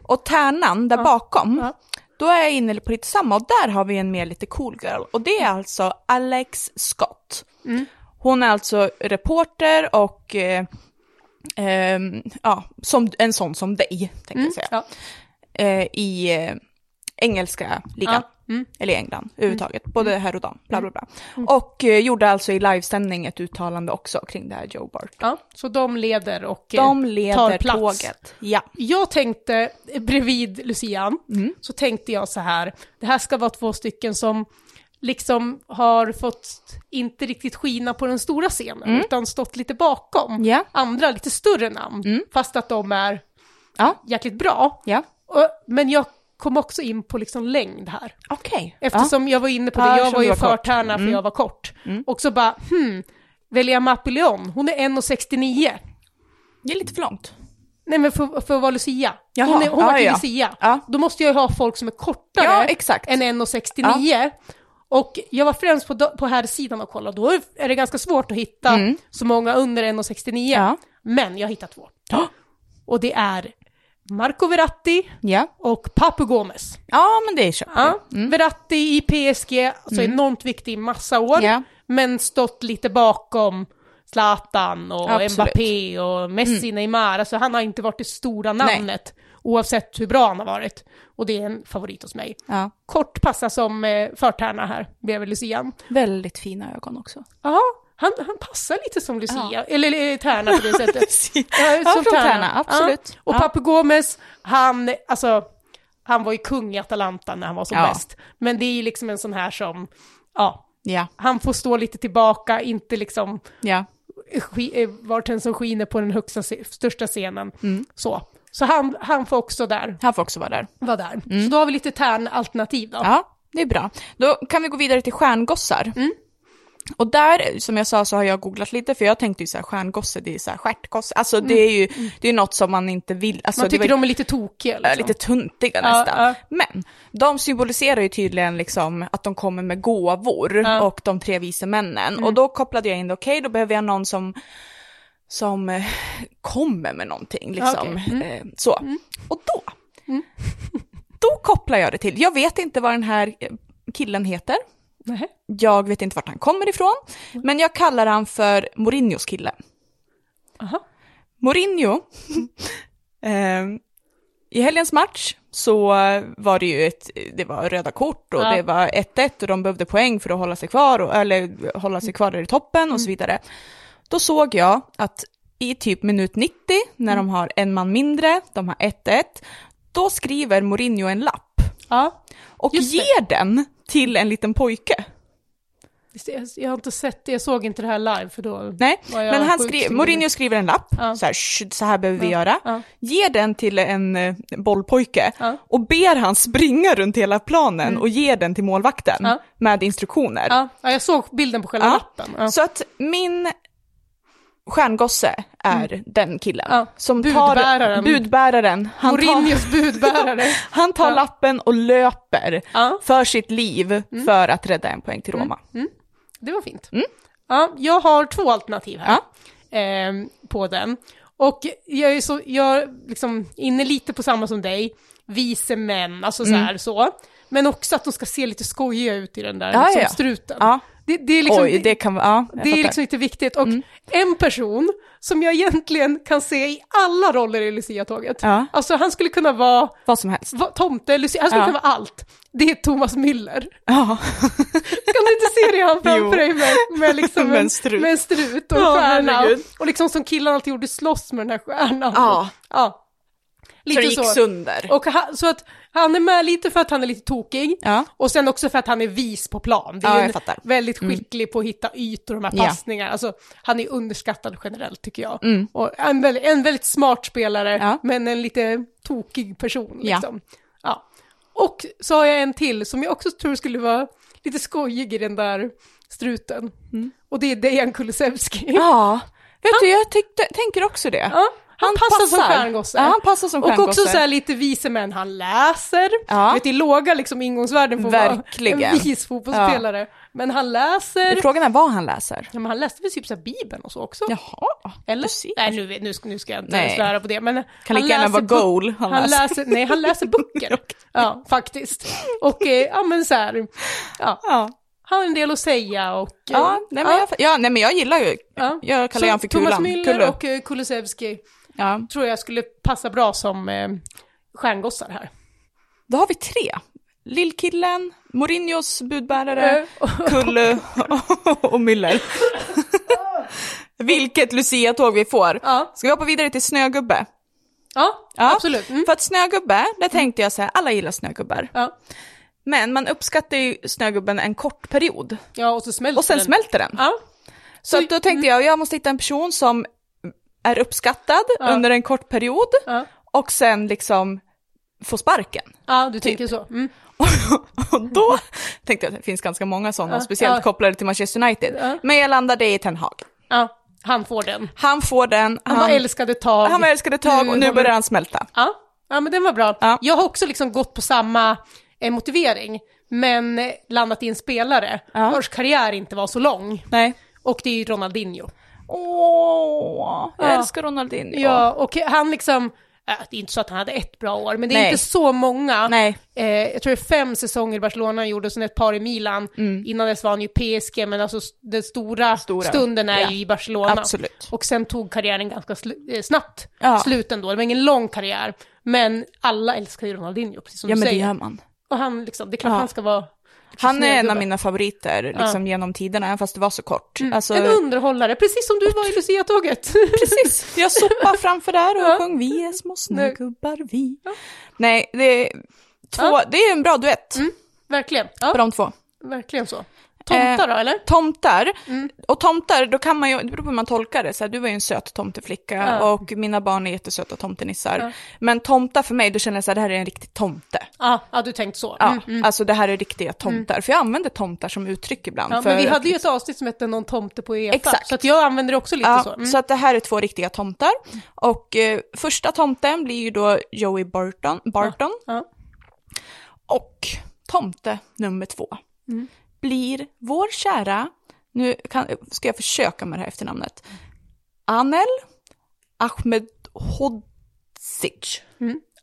Speaker 3: Och tärnan där bakom,
Speaker 2: Mm. Ja.
Speaker 3: då är jag inne på lite samma och där har vi en mer lite cool girl. Och det är alltså Alex Scott.
Speaker 2: Mm.
Speaker 3: Hon är alltså reporter och eh, ehm, ja, som, en sån som dig, tänkte jag säga.
Speaker 2: Ja.
Speaker 3: Eh, I eh, engelska ligan.
Speaker 2: Mm.
Speaker 3: Eller i England överhuvudtaget, både här och dam, bla bla bla. Och eh, gjorde alltså i livesändning ett uttalande också kring det här Joe Bart.
Speaker 2: Ja, så de leder och eh,
Speaker 3: De leder
Speaker 2: tar plats.
Speaker 3: tåget. Ja.
Speaker 2: Jag tänkte, eh, bredvid Lucian,
Speaker 3: Mm.
Speaker 2: så tänkte jag så här, det här ska vara två stycken som liksom har fått inte riktigt skina på den stora scenen, utan stått lite bakom
Speaker 3: Mm. Ja. Mm.
Speaker 2: andra lite större namn, fast att de är
Speaker 3: Ja.
Speaker 2: jäkligt bra.
Speaker 3: Ja.
Speaker 2: Och, men jag kom också in på liksom längd här.
Speaker 3: Okej.
Speaker 2: Eftersom jag var inne på det,
Speaker 3: Ja,
Speaker 2: jag
Speaker 3: eftersom
Speaker 2: var
Speaker 3: du
Speaker 2: ju
Speaker 3: var kort. Mm.
Speaker 2: förtärna för jag var kort. Och så bara, hmm, välja Mappilion, hon är 1,69.
Speaker 3: Det är lite för långt.
Speaker 2: Nej men för, för att vara Lucia. hon
Speaker 3: Jaha,
Speaker 2: är, hon
Speaker 3: ja,
Speaker 2: var ju
Speaker 3: ja.
Speaker 2: Lucia.
Speaker 3: Ja.
Speaker 2: Då måste jag ju ha folk som är kortare
Speaker 3: Ja, exakt.
Speaker 2: än 1,69. Och jag var främst på, på här sidan och kollade, då är det ganska svårt att hitta så många under 1,69.
Speaker 3: Mm. Ja.
Speaker 2: Men jag hittade två. Och det är Marco Verratti
Speaker 3: Ja.
Speaker 2: och Papu Gomez.
Speaker 3: Ja, men det köper jag.
Speaker 2: Ja. Verratti i PSG, alltså enormt viktig i massa år,
Speaker 3: Mm. Ja.
Speaker 2: men stått lite bakom Zlatan och
Speaker 3: Absolut. Mm.
Speaker 2: Mbappé och Messi, Neymar, alltså han har inte varit det stora
Speaker 3: Nej.
Speaker 2: namnet oavsett hur bra han har varit. Och det är en favorit hos mig.
Speaker 3: Ja.
Speaker 2: Kort passar som eh, förtärna här, bredvid Lucian.
Speaker 3: Väldigt fina ögon också.
Speaker 2: Ja, han, han passar lite som Lucia, eller eh, tärna på det sättet. Ja,
Speaker 3: Ja,
Speaker 2: som
Speaker 3: från
Speaker 2: Tärna.
Speaker 3: Tärna, absolut.
Speaker 2: Ja. Och
Speaker 3: Ja.
Speaker 2: Papu Gomez, han, alltså, han var ju kung i Atalanta när han var som
Speaker 3: Ja.
Speaker 2: bäst. Men det är ju liksom en sån här som, ja,
Speaker 3: Ja,
Speaker 2: han får stå lite tillbaka, inte liksom
Speaker 3: ja.
Speaker 2: sk- eh, vart den som skiner på den högsta, se- största scenen.
Speaker 3: Mm.
Speaker 2: Så. Så han, han får också där,
Speaker 3: Han får också vara där.
Speaker 2: vara där. Så då har vi lite Tärn-alternativ då.
Speaker 3: Mm. Ja, Mm. det är bra. Då kan vi gå vidare till stjärngossar. Och där, som jag sa, så har jag googlat lite, för jag tänkte ju så här, stjärngosse, det är så här stjärtgosse. Alltså det är ju det är något som man inte vill. Alltså,
Speaker 2: Man
Speaker 3: det var
Speaker 2: tycker
Speaker 3: ju-
Speaker 2: de är lite tokiga
Speaker 3: Äh,
Speaker 2: liksom.
Speaker 3: Lite tuntiga
Speaker 2: Ja,
Speaker 3: nästan.
Speaker 2: ja.
Speaker 3: Men de symboliserar ju tydligen liksom att de kommer med gåvor och de tre vise männen.
Speaker 2: Mm.
Speaker 3: Och då kopplade jag in, det, okej då behöver jag någon som, som eh, kommer med någonting. Liksom.
Speaker 2: Okej. Mm.
Speaker 3: Eh, Så. Och då, då kopplar jag det till, jag vet inte vad den här eh, killen heter.
Speaker 2: Nej.
Speaker 3: Jag vet inte vart han kommer ifrån,
Speaker 2: Mm.
Speaker 3: men jag kallar han för Mourinhos kille.
Speaker 2: Aha.
Speaker 3: Mourinho, ehm, i helgens match så var det ju ett, det var röda kort och
Speaker 2: Ja.
Speaker 3: det var 1-1 och de behövde poäng för att hålla sig kvar, och, eller hålla sig kvar där i toppen
Speaker 2: Mm.
Speaker 3: och så vidare. Då såg jag att i typ minut 90, när
Speaker 2: Mm.
Speaker 3: de har en man mindre, de har 1-1, då skriver Mourinho en lapp
Speaker 2: Ja.
Speaker 3: och
Speaker 2: Just det.
Speaker 3: ger den till en liten pojke.
Speaker 2: Visst, Jag, jag har inte sett det, jag såg inte det här live för då...
Speaker 3: Nej,
Speaker 2: Vad jag
Speaker 3: men han
Speaker 2: sjukt
Speaker 3: skrev,
Speaker 2: skriver.
Speaker 3: Mourinho skriver en lapp,
Speaker 2: Ja.
Speaker 3: så, här, "Shh, så här behöver vi göra,
Speaker 2: ja.
Speaker 3: ger den till en eh, bollpojke
Speaker 2: Ja. Mm.
Speaker 3: och ber han springa runt hela planen och ge den till målvakten
Speaker 2: Ja.
Speaker 3: med instruktioner.
Speaker 2: Ja, ja, jag såg bilden på själva
Speaker 3: Ja.
Speaker 2: lappen. Ja.
Speaker 3: Så att min stjärngosse är den killen
Speaker 2: Mm. Ja.
Speaker 3: som tar
Speaker 2: Budbäraren.
Speaker 3: budbäraren. Han tar,
Speaker 2: Mourinhos budbärare.
Speaker 3: han tar lappen och löper
Speaker 2: Ja. Mm.
Speaker 3: för sitt liv för att rädda en poäng till Roma.
Speaker 2: Det var fint.
Speaker 3: Mm.
Speaker 2: Ja, jag har två alternativ här ehm, på den. Och jag är så, jag är liksom inne lite på samma som dig, vice män, alltså
Speaker 3: Mm.
Speaker 2: så här så. Men också att de ska se lite skojiga ut i den där
Speaker 3: Ja,
Speaker 2: liksom,
Speaker 3: ja.
Speaker 2: struten.
Speaker 3: Ja.
Speaker 2: Det, det är liksom,
Speaker 3: Oj, det kan vara... Ja, jag
Speaker 2: det är
Speaker 3: fattar. Mm.
Speaker 2: liksom inte viktigt. Och en person som jag egentligen kan se i alla roller i Lucia-tåget,
Speaker 3: Ja.
Speaker 2: alltså han skulle kunna vara
Speaker 3: Vad som helst.
Speaker 2: va, tomte, Lucia, han skulle
Speaker 3: Ja.
Speaker 2: kunna vara allt. Det är Thomas Müller.
Speaker 3: Ja.
Speaker 2: Kan du inte se det han framför
Speaker 3: Jo.
Speaker 2: dig med, med, liksom
Speaker 3: Med en
Speaker 2: en,
Speaker 3: strut.
Speaker 2: med en strut och en
Speaker 3: Ja,
Speaker 2: stjärna?
Speaker 3: herregud.
Speaker 2: Och liksom som killarna alltid gjorde, slåss med den här stjärnan.
Speaker 3: Ja.
Speaker 2: ja.
Speaker 3: Så det
Speaker 2: Lite
Speaker 3: gick
Speaker 2: så.
Speaker 3: sönder.
Speaker 2: Och han, så att han är med lite för att han är lite tokig
Speaker 3: Ja.
Speaker 2: och sen också för att han är vis på plan. Det
Speaker 3: Ja,
Speaker 2: är
Speaker 3: jag
Speaker 2: ju
Speaker 3: fattar. Mm.
Speaker 2: väldigt skicklig på att hitta ytor och de
Speaker 3: Ja. Mm.
Speaker 2: här passningarna. Alltså, han är underskattad generellt tycker jag. Och en, väldigt, en väldigt smart spelare
Speaker 3: Ja.
Speaker 2: men en lite tokig person.
Speaker 3: Ja.
Speaker 2: Liksom. Ja. Ja. Och så har jag en till som jag också tror skulle vara lite skojig i den där struten.
Speaker 3: Mm.
Speaker 2: Och det är Dejan Kulusevski.
Speaker 3: Ja, vet du jag tyckte, tänker också det.
Speaker 2: Ja, han, passar, som stjärngosse.
Speaker 3: Ja, han passar som
Speaker 2: Och
Speaker 3: stjärngosse.
Speaker 2: också så här lite vise män, han läser.
Speaker 3: Ja.
Speaker 2: Du vet, I låga liksom ingångsvärden får vara
Speaker 3: Verkligen.
Speaker 2: en vis fotbollsspelare. Men han läser.
Speaker 3: Men Frågan är vad han läser.
Speaker 2: Ja, men han läste väl typ så här Bibeln och så också?
Speaker 3: Jaha,
Speaker 2: Eller?
Speaker 3: du ser.
Speaker 2: Nej, nu, nu, ska- nu ska jag inte
Speaker 3: Nej.
Speaker 2: svära på det. Men kan
Speaker 3: lika gärna vara goal han
Speaker 2: han
Speaker 3: läser.
Speaker 2: läser. Nej, han läser böcker. ja, faktiskt. Och eh, ja, men så här. Ja,
Speaker 3: Ja.
Speaker 2: han har en del att säga och... eh,
Speaker 3: Ja, nej, men
Speaker 2: ja,
Speaker 3: jag, ja, nej men jag gillar ju,
Speaker 2: ja.
Speaker 3: jag
Speaker 2: Så
Speaker 3: kallar honom för
Speaker 2: Thomas
Speaker 3: Kulan.
Speaker 2: Müller
Speaker 3: Kullu.
Speaker 2: och eh, Kulusevski
Speaker 3: Ja.
Speaker 2: tror jag skulle passa bra som eh, stjärngossar här.
Speaker 3: Då har vi tre. Lillkillen, Mourinhos budbärare, Kullu och Müller. Vilket Lucia-tåg vi får.
Speaker 2: Ja.
Speaker 3: Ska vi hoppa vidare till Snögubbe?
Speaker 2: Ja,
Speaker 3: Ja.
Speaker 2: absolut. Mm.
Speaker 3: För att Snögubbe, där tänkte jag så här, alla gillar Snögubbar.
Speaker 2: Ja.
Speaker 3: Men man uppskattar ju Snögubben en kort period
Speaker 2: ja, och så smälter
Speaker 3: och sen
Speaker 2: den.
Speaker 3: smälter den.
Speaker 2: Ja,
Speaker 3: Så att då
Speaker 2: mm.
Speaker 3: tänkte jag, jag måste hitta en person som är uppskattad under en kort period
Speaker 2: Ja.
Speaker 3: och sen liksom få sparken.
Speaker 2: ja du tänker så. Mm.
Speaker 3: Och då tänkte jag att det finns ganska många sådana, speciellt
Speaker 2: ja.
Speaker 3: kopplade till Manchester United.
Speaker 2: Ja.
Speaker 3: Men jag landade i Ten Hag.
Speaker 2: Ja, han får den.
Speaker 3: Han får den,
Speaker 2: Han var älskad ett tag.
Speaker 3: han var älskad ett tag och nu
Speaker 2: håller-
Speaker 3: börjar han smälta.
Speaker 2: Ja, ja men den var bra.
Speaker 3: Ja.
Speaker 2: Jag har också liksom gått på samma eh, motivering, men eh, landat i en spelare
Speaker 3: Ja.
Speaker 2: vars karriär inte var så lång.
Speaker 3: Nej.
Speaker 2: Och det är ju Ronaldinho.
Speaker 3: Åh, jag
Speaker 2: Ja.
Speaker 3: älskar Ronaldinho.
Speaker 2: Ja, och han liksom, äh, det är inte så att han hade ett bra år, men det är
Speaker 3: Nej.
Speaker 2: inte så många.
Speaker 3: Nej.
Speaker 2: Eh, jag tror det är fem säsonger i Barcelona han gjorde, och sen ett par i Milan. Innan dess var han ju PSG, men alltså s- den stora,
Speaker 3: Mm. Stora.
Speaker 2: stunden är
Speaker 3: Ja.
Speaker 2: ju i Barcelona.
Speaker 3: Absolut.
Speaker 2: Och sen tog karriären ganska sl- eh, snabbt
Speaker 3: Ja.
Speaker 2: slut ändå. Det var ingen lång karriär, men alla älskar ju Ronaldinho, precis som
Speaker 3: Ja
Speaker 2: du
Speaker 3: men det
Speaker 2: säger.
Speaker 3: gör man.
Speaker 2: Och han liksom, det är klart
Speaker 3: Ja.
Speaker 2: han ska vara...
Speaker 3: Han är en av
Speaker 2: Snögubbe.
Speaker 3: mina favoriter liksom, genom tiderna, även fast det var så kort. Alltså,
Speaker 2: Mm. En underhållare, precis som du var i Lucia-tåget.
Speaker 3: precis, jag sopar framför där och
Speaker 2: Ja.
Speaker 3: sjöng Vi är små snögubbar vi. Nej, det är, två, det är en bra duett
Speaker 2: Mm. verkligen. Ja,
Speaker 3: för de två.
Speaker 2: verkligen så.
Speaker 3: Eh.
Speaker 2: Tomtar då, eller?
Speaker 3: Tomtar,
Speaker 2: Mm.
Speaker 3: och tomtar, då kan man ju, det beror på hur man tolkar det, så här, du var ju en söt tomteflicka och mina barn är jättesöta tomtenissar. Men tomtar för mig, då känner jag så här, det här är en riktig tomte.
Speaker 2: Ja, ja du tänkte så.
Speaker 3: Ja,
Speaker 2: Mm.
Speaker 3: Alltså det här är riktiga tomtar, för jag använder tomtar som uttryck ibland.
Speaker 2: Ja,
Speaker 3: för
Speaker 2: men vi
Speaker 3: att
Speaker 2: hade ju ett avsnitt som hette Någon tomte på EFA,
Speaker 3: Exakt.
Speaker 2: så att jag använder det också lite så.
Speaker 3: Ja, så,
Speaker 2: Mm.
Speaker 3: att det här är två riktiga tomtar. Och eh, första tomten blir ju då Joey Barton, Barton
Speaker 2: ja.
Speaker 3: och tomte nummer två
Speaker 2: Mm.
Speaker 3: blir vår kära, nu kan, ska jag försöka med det här efternamnet, Anel Ahmedhodzic.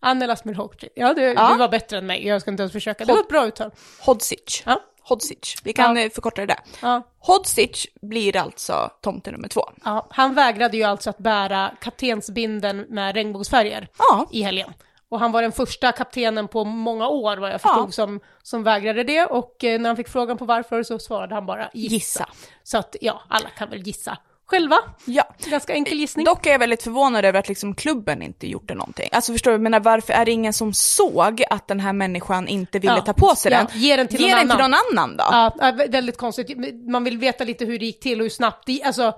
Speaker 2: Annel Asmir-Hockey. Ja, du,
Speaker 3: Ja.
Speaker 2: du var bättre än mig, jag ska inte ens försöka. Det var ett bra uttal.
Speaker 3: Hodzic.
Speaker 2: Ja.
Speaker 3: Hodzic. Vi kan
Speaker 2: Ja.
Speaker 3: eh, förkorta det där.
Speaker 2: Ja.
Speaker 3: Hodzic blir alltså tomte nummer två.
Speaker 2: Ja, han vägrade ju alltså att bära kaptensbinden med regnbågsfärger
Speaker 3: Ja.
Speaker 2: i helgen. Och han var den första kaptenen på många år, vad jag förstod,
Speaker 3: Ja.
Speaker 2: som, som vägrade det. Och eh, när han fick frågan på varför så svarade han bara gissa.
Speaker 3: Gissa.
Speaker 2: Så att ja, alla kan väl gissa själva.
Speaker 3: Ja.
Speaker 2: Ganska enkel gissning.
Speaker 3: Dock är jag väldigt förvånad över att liksom klubben inte gjorde någonting. Alltså förstår du, jag menar varför är det ingen som såg att den här människan inte ville
Speaker 2: Ja.
Speaker 3: ta på sig
Speaker 2: Ja,
Speaker 3: den?
Speaker 2: ge den till någon
Speaker 3: till
Speaker 2: annan.
Speaker 3: någon annan då? Ja,
Speaker 2: Ja, ja, vä- väldigt konstigt. Man vill veta lite hur det gick till och hur snabbt det alltså,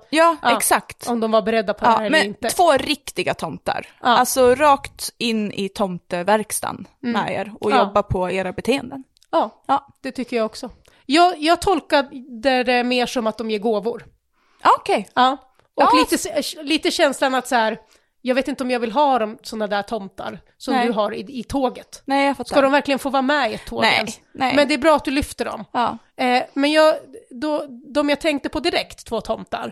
Speaker 3: exakt.
Speaker 2: Om de var beredda på det här
Speaker 3: Ja,
Speaker 2: eller
Speaker 3: men
Speaker 2: inte.
Speaker 3: två riktiga tomtar. Alltså rakt in i tomteverkstan med er och
Speaker 2: Mm. Ja.
Speaker 3: jobba på era beteenden.
Speaker 2: Ja,
Speaker 3: Ja,
Speaker 2: det tycker jag också. Jag, jag tolkar det mer som att de ger gåvor.
Speaker 3: Ja, okej.
Speaker 2: Ja. Och
Speaker 3: Ja.
Speaker 2: Lite, eh, lite känslan att så här, jag vet inte om jag vill ha de, sådana där tomtar som
Speaker 3: Nej.
Speaker 2: du har i, i tåget.
Speaker 3: Nej, jag fattar.
Speaker 2: Ska de verkligen få vara med i ett tåg
Speaker 3: Nej,
Speaker 2: ens?
Speaker 3: nej.
Speaker 2: Men det är bra att du lyfter dem.
Speaker 3: Ja.
Speaker 2: Eh, men jag, då, de jag tänkte på direkt, två tomtar,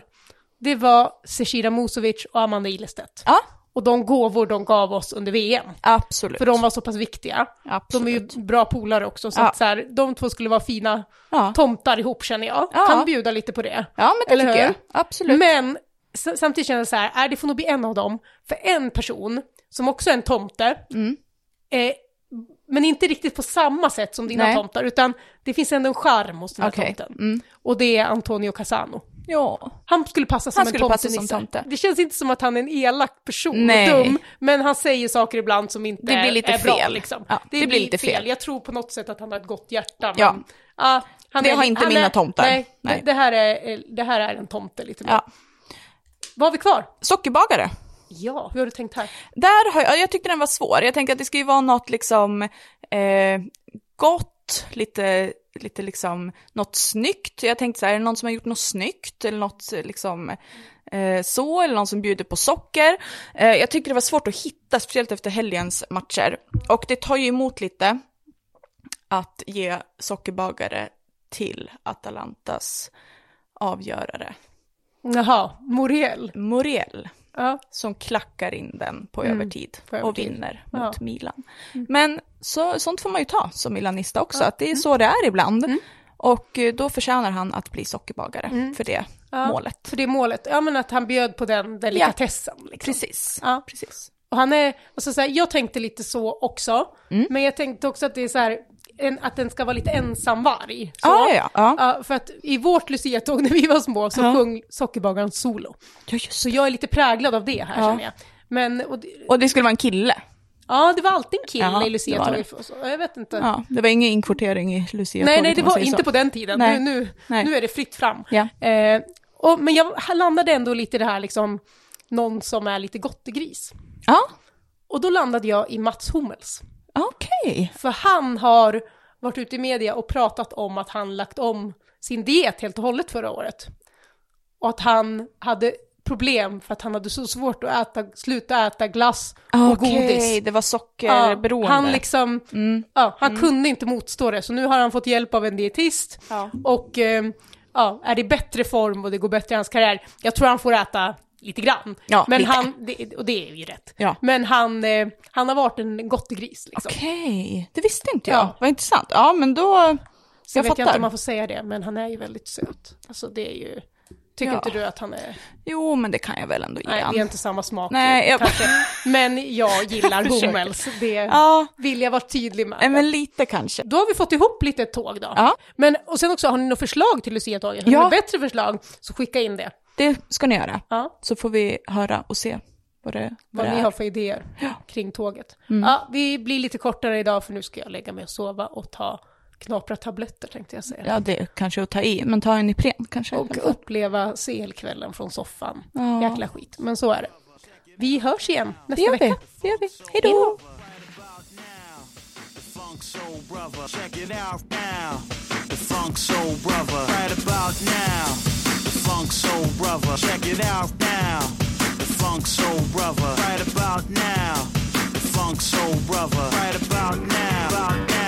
Speaker 2: det var Zecira Musovic och Amanda Ilestedt.
Speaker 3: ja,
Speaker 2: Och de gåvor de gav oss under VM.
Speaker 3: absolut.
Speaker 2: För de var så pass viktiga.
Speaker 3: Absolut.
Speaker 2: De är ju bra polare också, så,
Speaker 3: Ja.
Speaker 2: att så här, de två skulle vara fina
Speaker 3: Ja.
Speaker 2: tomtar ihop känner jag.
Speaker 3: Ja.
Speaker 2: Kan bjuda lite på det.
Speaker 3: Ja, men det
Speaker 2: Eller
Speaker 3: tycker
Speaker 2: hur?
Speaker 3: jag. Absolut.
Speaker 2: Men s- samtidigt känner jag så här, är det får nog bli en av dem. För en person, som också är en tomte,
Speaker 3: Mm.
Speaker 2: eh, men inte riktigt på samma sätt som dina
Speaker 3: Nej.
Speaker 2: tomtar, utan det finns ändå en charm hos den här
Speaker 3: Okej. Mm.
Speaker 2: tomten. Och det är Antonio Casano.
Speaker 3: Ja.
Speaker 2: Han skulle passa som
Speaker 3: Han
Speaker 2: en
Speaker 3: skulle passa
Speaker 2: tomtenisse.
Speaker 3: som tomte.
Speaker 2: Det känns inte som att han är en elak person,
Speaker 3: Nej.
Speaker 2: dum, men han säger saker ibland som inte
Speaker 3: Det blir lite
Speaker 2: är bra.
Speaker 3: fel.
Speaker 2: Liksom.
Speaker 3: Ja, det blir lite fel.
Speaker 2: Jag tror på något sätt att han har ett gott hjärta. Men,
Speaker 3: Ja.
Speaker 2: ja, han
Speaker 3: Det
Speaker 2: är-
Speaker 3: har inte
Speaker 2: han
Speaker 3: mina
Speaker 2: är,
Speaker 3: tomtar.
Speaker 2: Nej,
Speaker 3: Nej.
Speaker 2: Det, det, här är, det här är en tomte lite mer.
Speaker 3: Ja.
Speaker 2: Vad har vi kvar?
Speaker 3: Sockerbagare.
Speaker 2: Ja, hur har du tänkt här?
Speaker 3: Där har jag, jag tyckte den var svår. Jag tänker att det ska ju vara något liksom eh, gott, lite, lite liksom något snyggt. Jag tänkte så här, är det någon som har gjort något snyggt eller något eh, liksom eh, så, eller någon som bjuder på socker. Eh, jag tyckte det var svårt att hitta, speciellt efter helgens matcher. Och det tar ju emot lite att ge sockerbagare till Atalantas avgörare
Speaker 2: Jaha, Moriel.
Speaker 3: Muriel
Speaker 2: Ja.
Speaker 3: som klackar in den på övertid
Speaker 2: Mm. på
Speaker 3: och
Speaker 2: övertid.
Speaker 3: vinner
Speaker 2: Ja. Mm.
Speaker 3: mot Milan. Men så, sånt får man ju ta som milanista också, att det är så det är ibland.
Speaker 2: Mm.
Speaker 3: Och eh, då förtjänar han att bli sockerbagare för det målet.
Speaker 2: För det är målet, ja men att han bjöd på den delikatessen. Liksom.
Speaker 3: Precis.
Speaker 2: Ja.
Speaker 3: Precis.
Speaker 2: Och han är, alltså så här, jag tänkte lite så också,
Speaker 3: Mm.
Speaker 2: men jag tänkte också att det är så här, en, att den ska vara lite ensamvarg. Så.
Speaker 3: Ja, ja, ja.
Speaker 2: Ja, för att i vårt luciatåg när vi var små så
Speaker 3: Ja.
Speaker 2: sjöng sockerbagaren solo.
Speaker 3: Ja, just
Speaker 2: Så
Speaker 3: det.
Speaker 2: jag är lite präglad av det här
Speaker 3: Ja.
Speaker 2: känner jag. Men, och, det-
Speaker 3: Och det skulle vara en kille.
Speaker 2: ja det var alltid en kille
Speaker 3: Ja,
Speaker 2: i
Speaker 3: det var
Speaker 2: luciatåget.
Speaker 3: det.
Speaker 2: och så. Jag vet inte.
Speaker 3: Ja, det var ingen inkvotering i Lucia.
Speaker 2: Nej, nej, det var inte på den tiden.
Speaker 3: Nej.
Speaker 2: Nu, nu,
Speaker 3: Nej.
Speaker 2: nu är det fritt fram.
Speaker 3: Ja.
Speaker 2: Eh, och, men jag landade ändå lite i det här liksom, någon som är lite gottegris.
Speaker 3: Ja,
Speaker 2: Och då landade jag i Mats Hummels.
Speaker 3: okej.
Speaker 2: För han har varit ute i media och pratat om att han lagt om sin diet helt och hållet förra året. Och att han hade problem för att han hade så svårt att äta, sluta äta glass och godis.
Speaker 3: Okej, det Mm. var
Speaker 2: Ja,
Speaker 3: sockerberoende.
Speaker 2: han liksom, ja, han kunde inte motstå det, så nu har han fått hjälp av en dietist
Speaker 3: Ja.
Speaker 2: och eh, ja, är i bättre form och det går bättre i hans karriär. Jag tror han får äta lite grann,
Speaker 3: Ja,
Speaker 2: men
Speaker 3: lite.
Speaker 2: Han, det, och det är ju rätt.
Speaker 3: Ja.
Speaker 2: Men han, eh, han har varit en gottegris. Liksom.
Speaker 3: Okej, det visste inte jag.
Speaker 2: Ja.
Speaker 3: Vad intressant. Ja, men då...
Speaker 2: Sen
Speaker 3: Jag
Speaker 2: vet
Speaker 3: fattar.
Speaker 2: jag inte om man får säga det, men han är ju väldigt söt. Alltså det är ju, tycker
Speaker 3: Ja.
Speaker 2: inte du att han är,
Speaker 3: Jo, men det kan jag väl ändå ge
Speaker 2: nej
Speaker 3: han.
Speaker 2: vi har inte samma smak
Speaker 3: Nej, jag-
Speaker 2: kanske. Men jag gillar
Speaker 3: försöker.
Speaker 2: Hummels, det
Speaker 3: Ja,
Speaker 2: vill jag vara tydlig med.
Speaker 3: nej, men lite kanske.
Speaker 2: Då har vi fått ihop lite tåg då.
Speaker 3: Ja.
Speaker 2: Men, och sen också, har ni något förslag till Lucia-tåget? Har
Speaker 3: Ja.
Speaker 2: ni bättre förslag så skicka in det.
Speaker 3: Det ska ni göra.
Speaker 2: Ja.
Speaker 3: Så får vi höra och se vad det, vad
Speaker 2: Vad
Speaker 3: det
Speaker 2: ni
Speaker 3: är.
Speaker 2: har för idéer kring tåget.
Speaker 3: Mm.
Speaker 2: Ja, vi blir lite kortare idag för nu ska jag lägga mig och sova och ta knapra tabletter tänkte jag säga.
Speaker 3: Ja, det är kanske att ta i, men ta en Ipren kanske.
Speaker 2: Och uppleva CL-kvällen från soffan.
Speaker 3: Ja.
Speaker 2: Jäkla skit, men så är det. Vi hörs igen
Speaker 3: Det
Speaker 2: nästa
Speaker 3: gör vi.
Speaker 2: vecka.
Speaker 3: Det gör vi. Hej då!
Speaker 1: about now. The funk soul brother. Check it out now. The funk soul brother. Right about now. The funk soul brother. Check it out now. The funk soul brother. Right about now. The funk soul brother. Right about now. About now.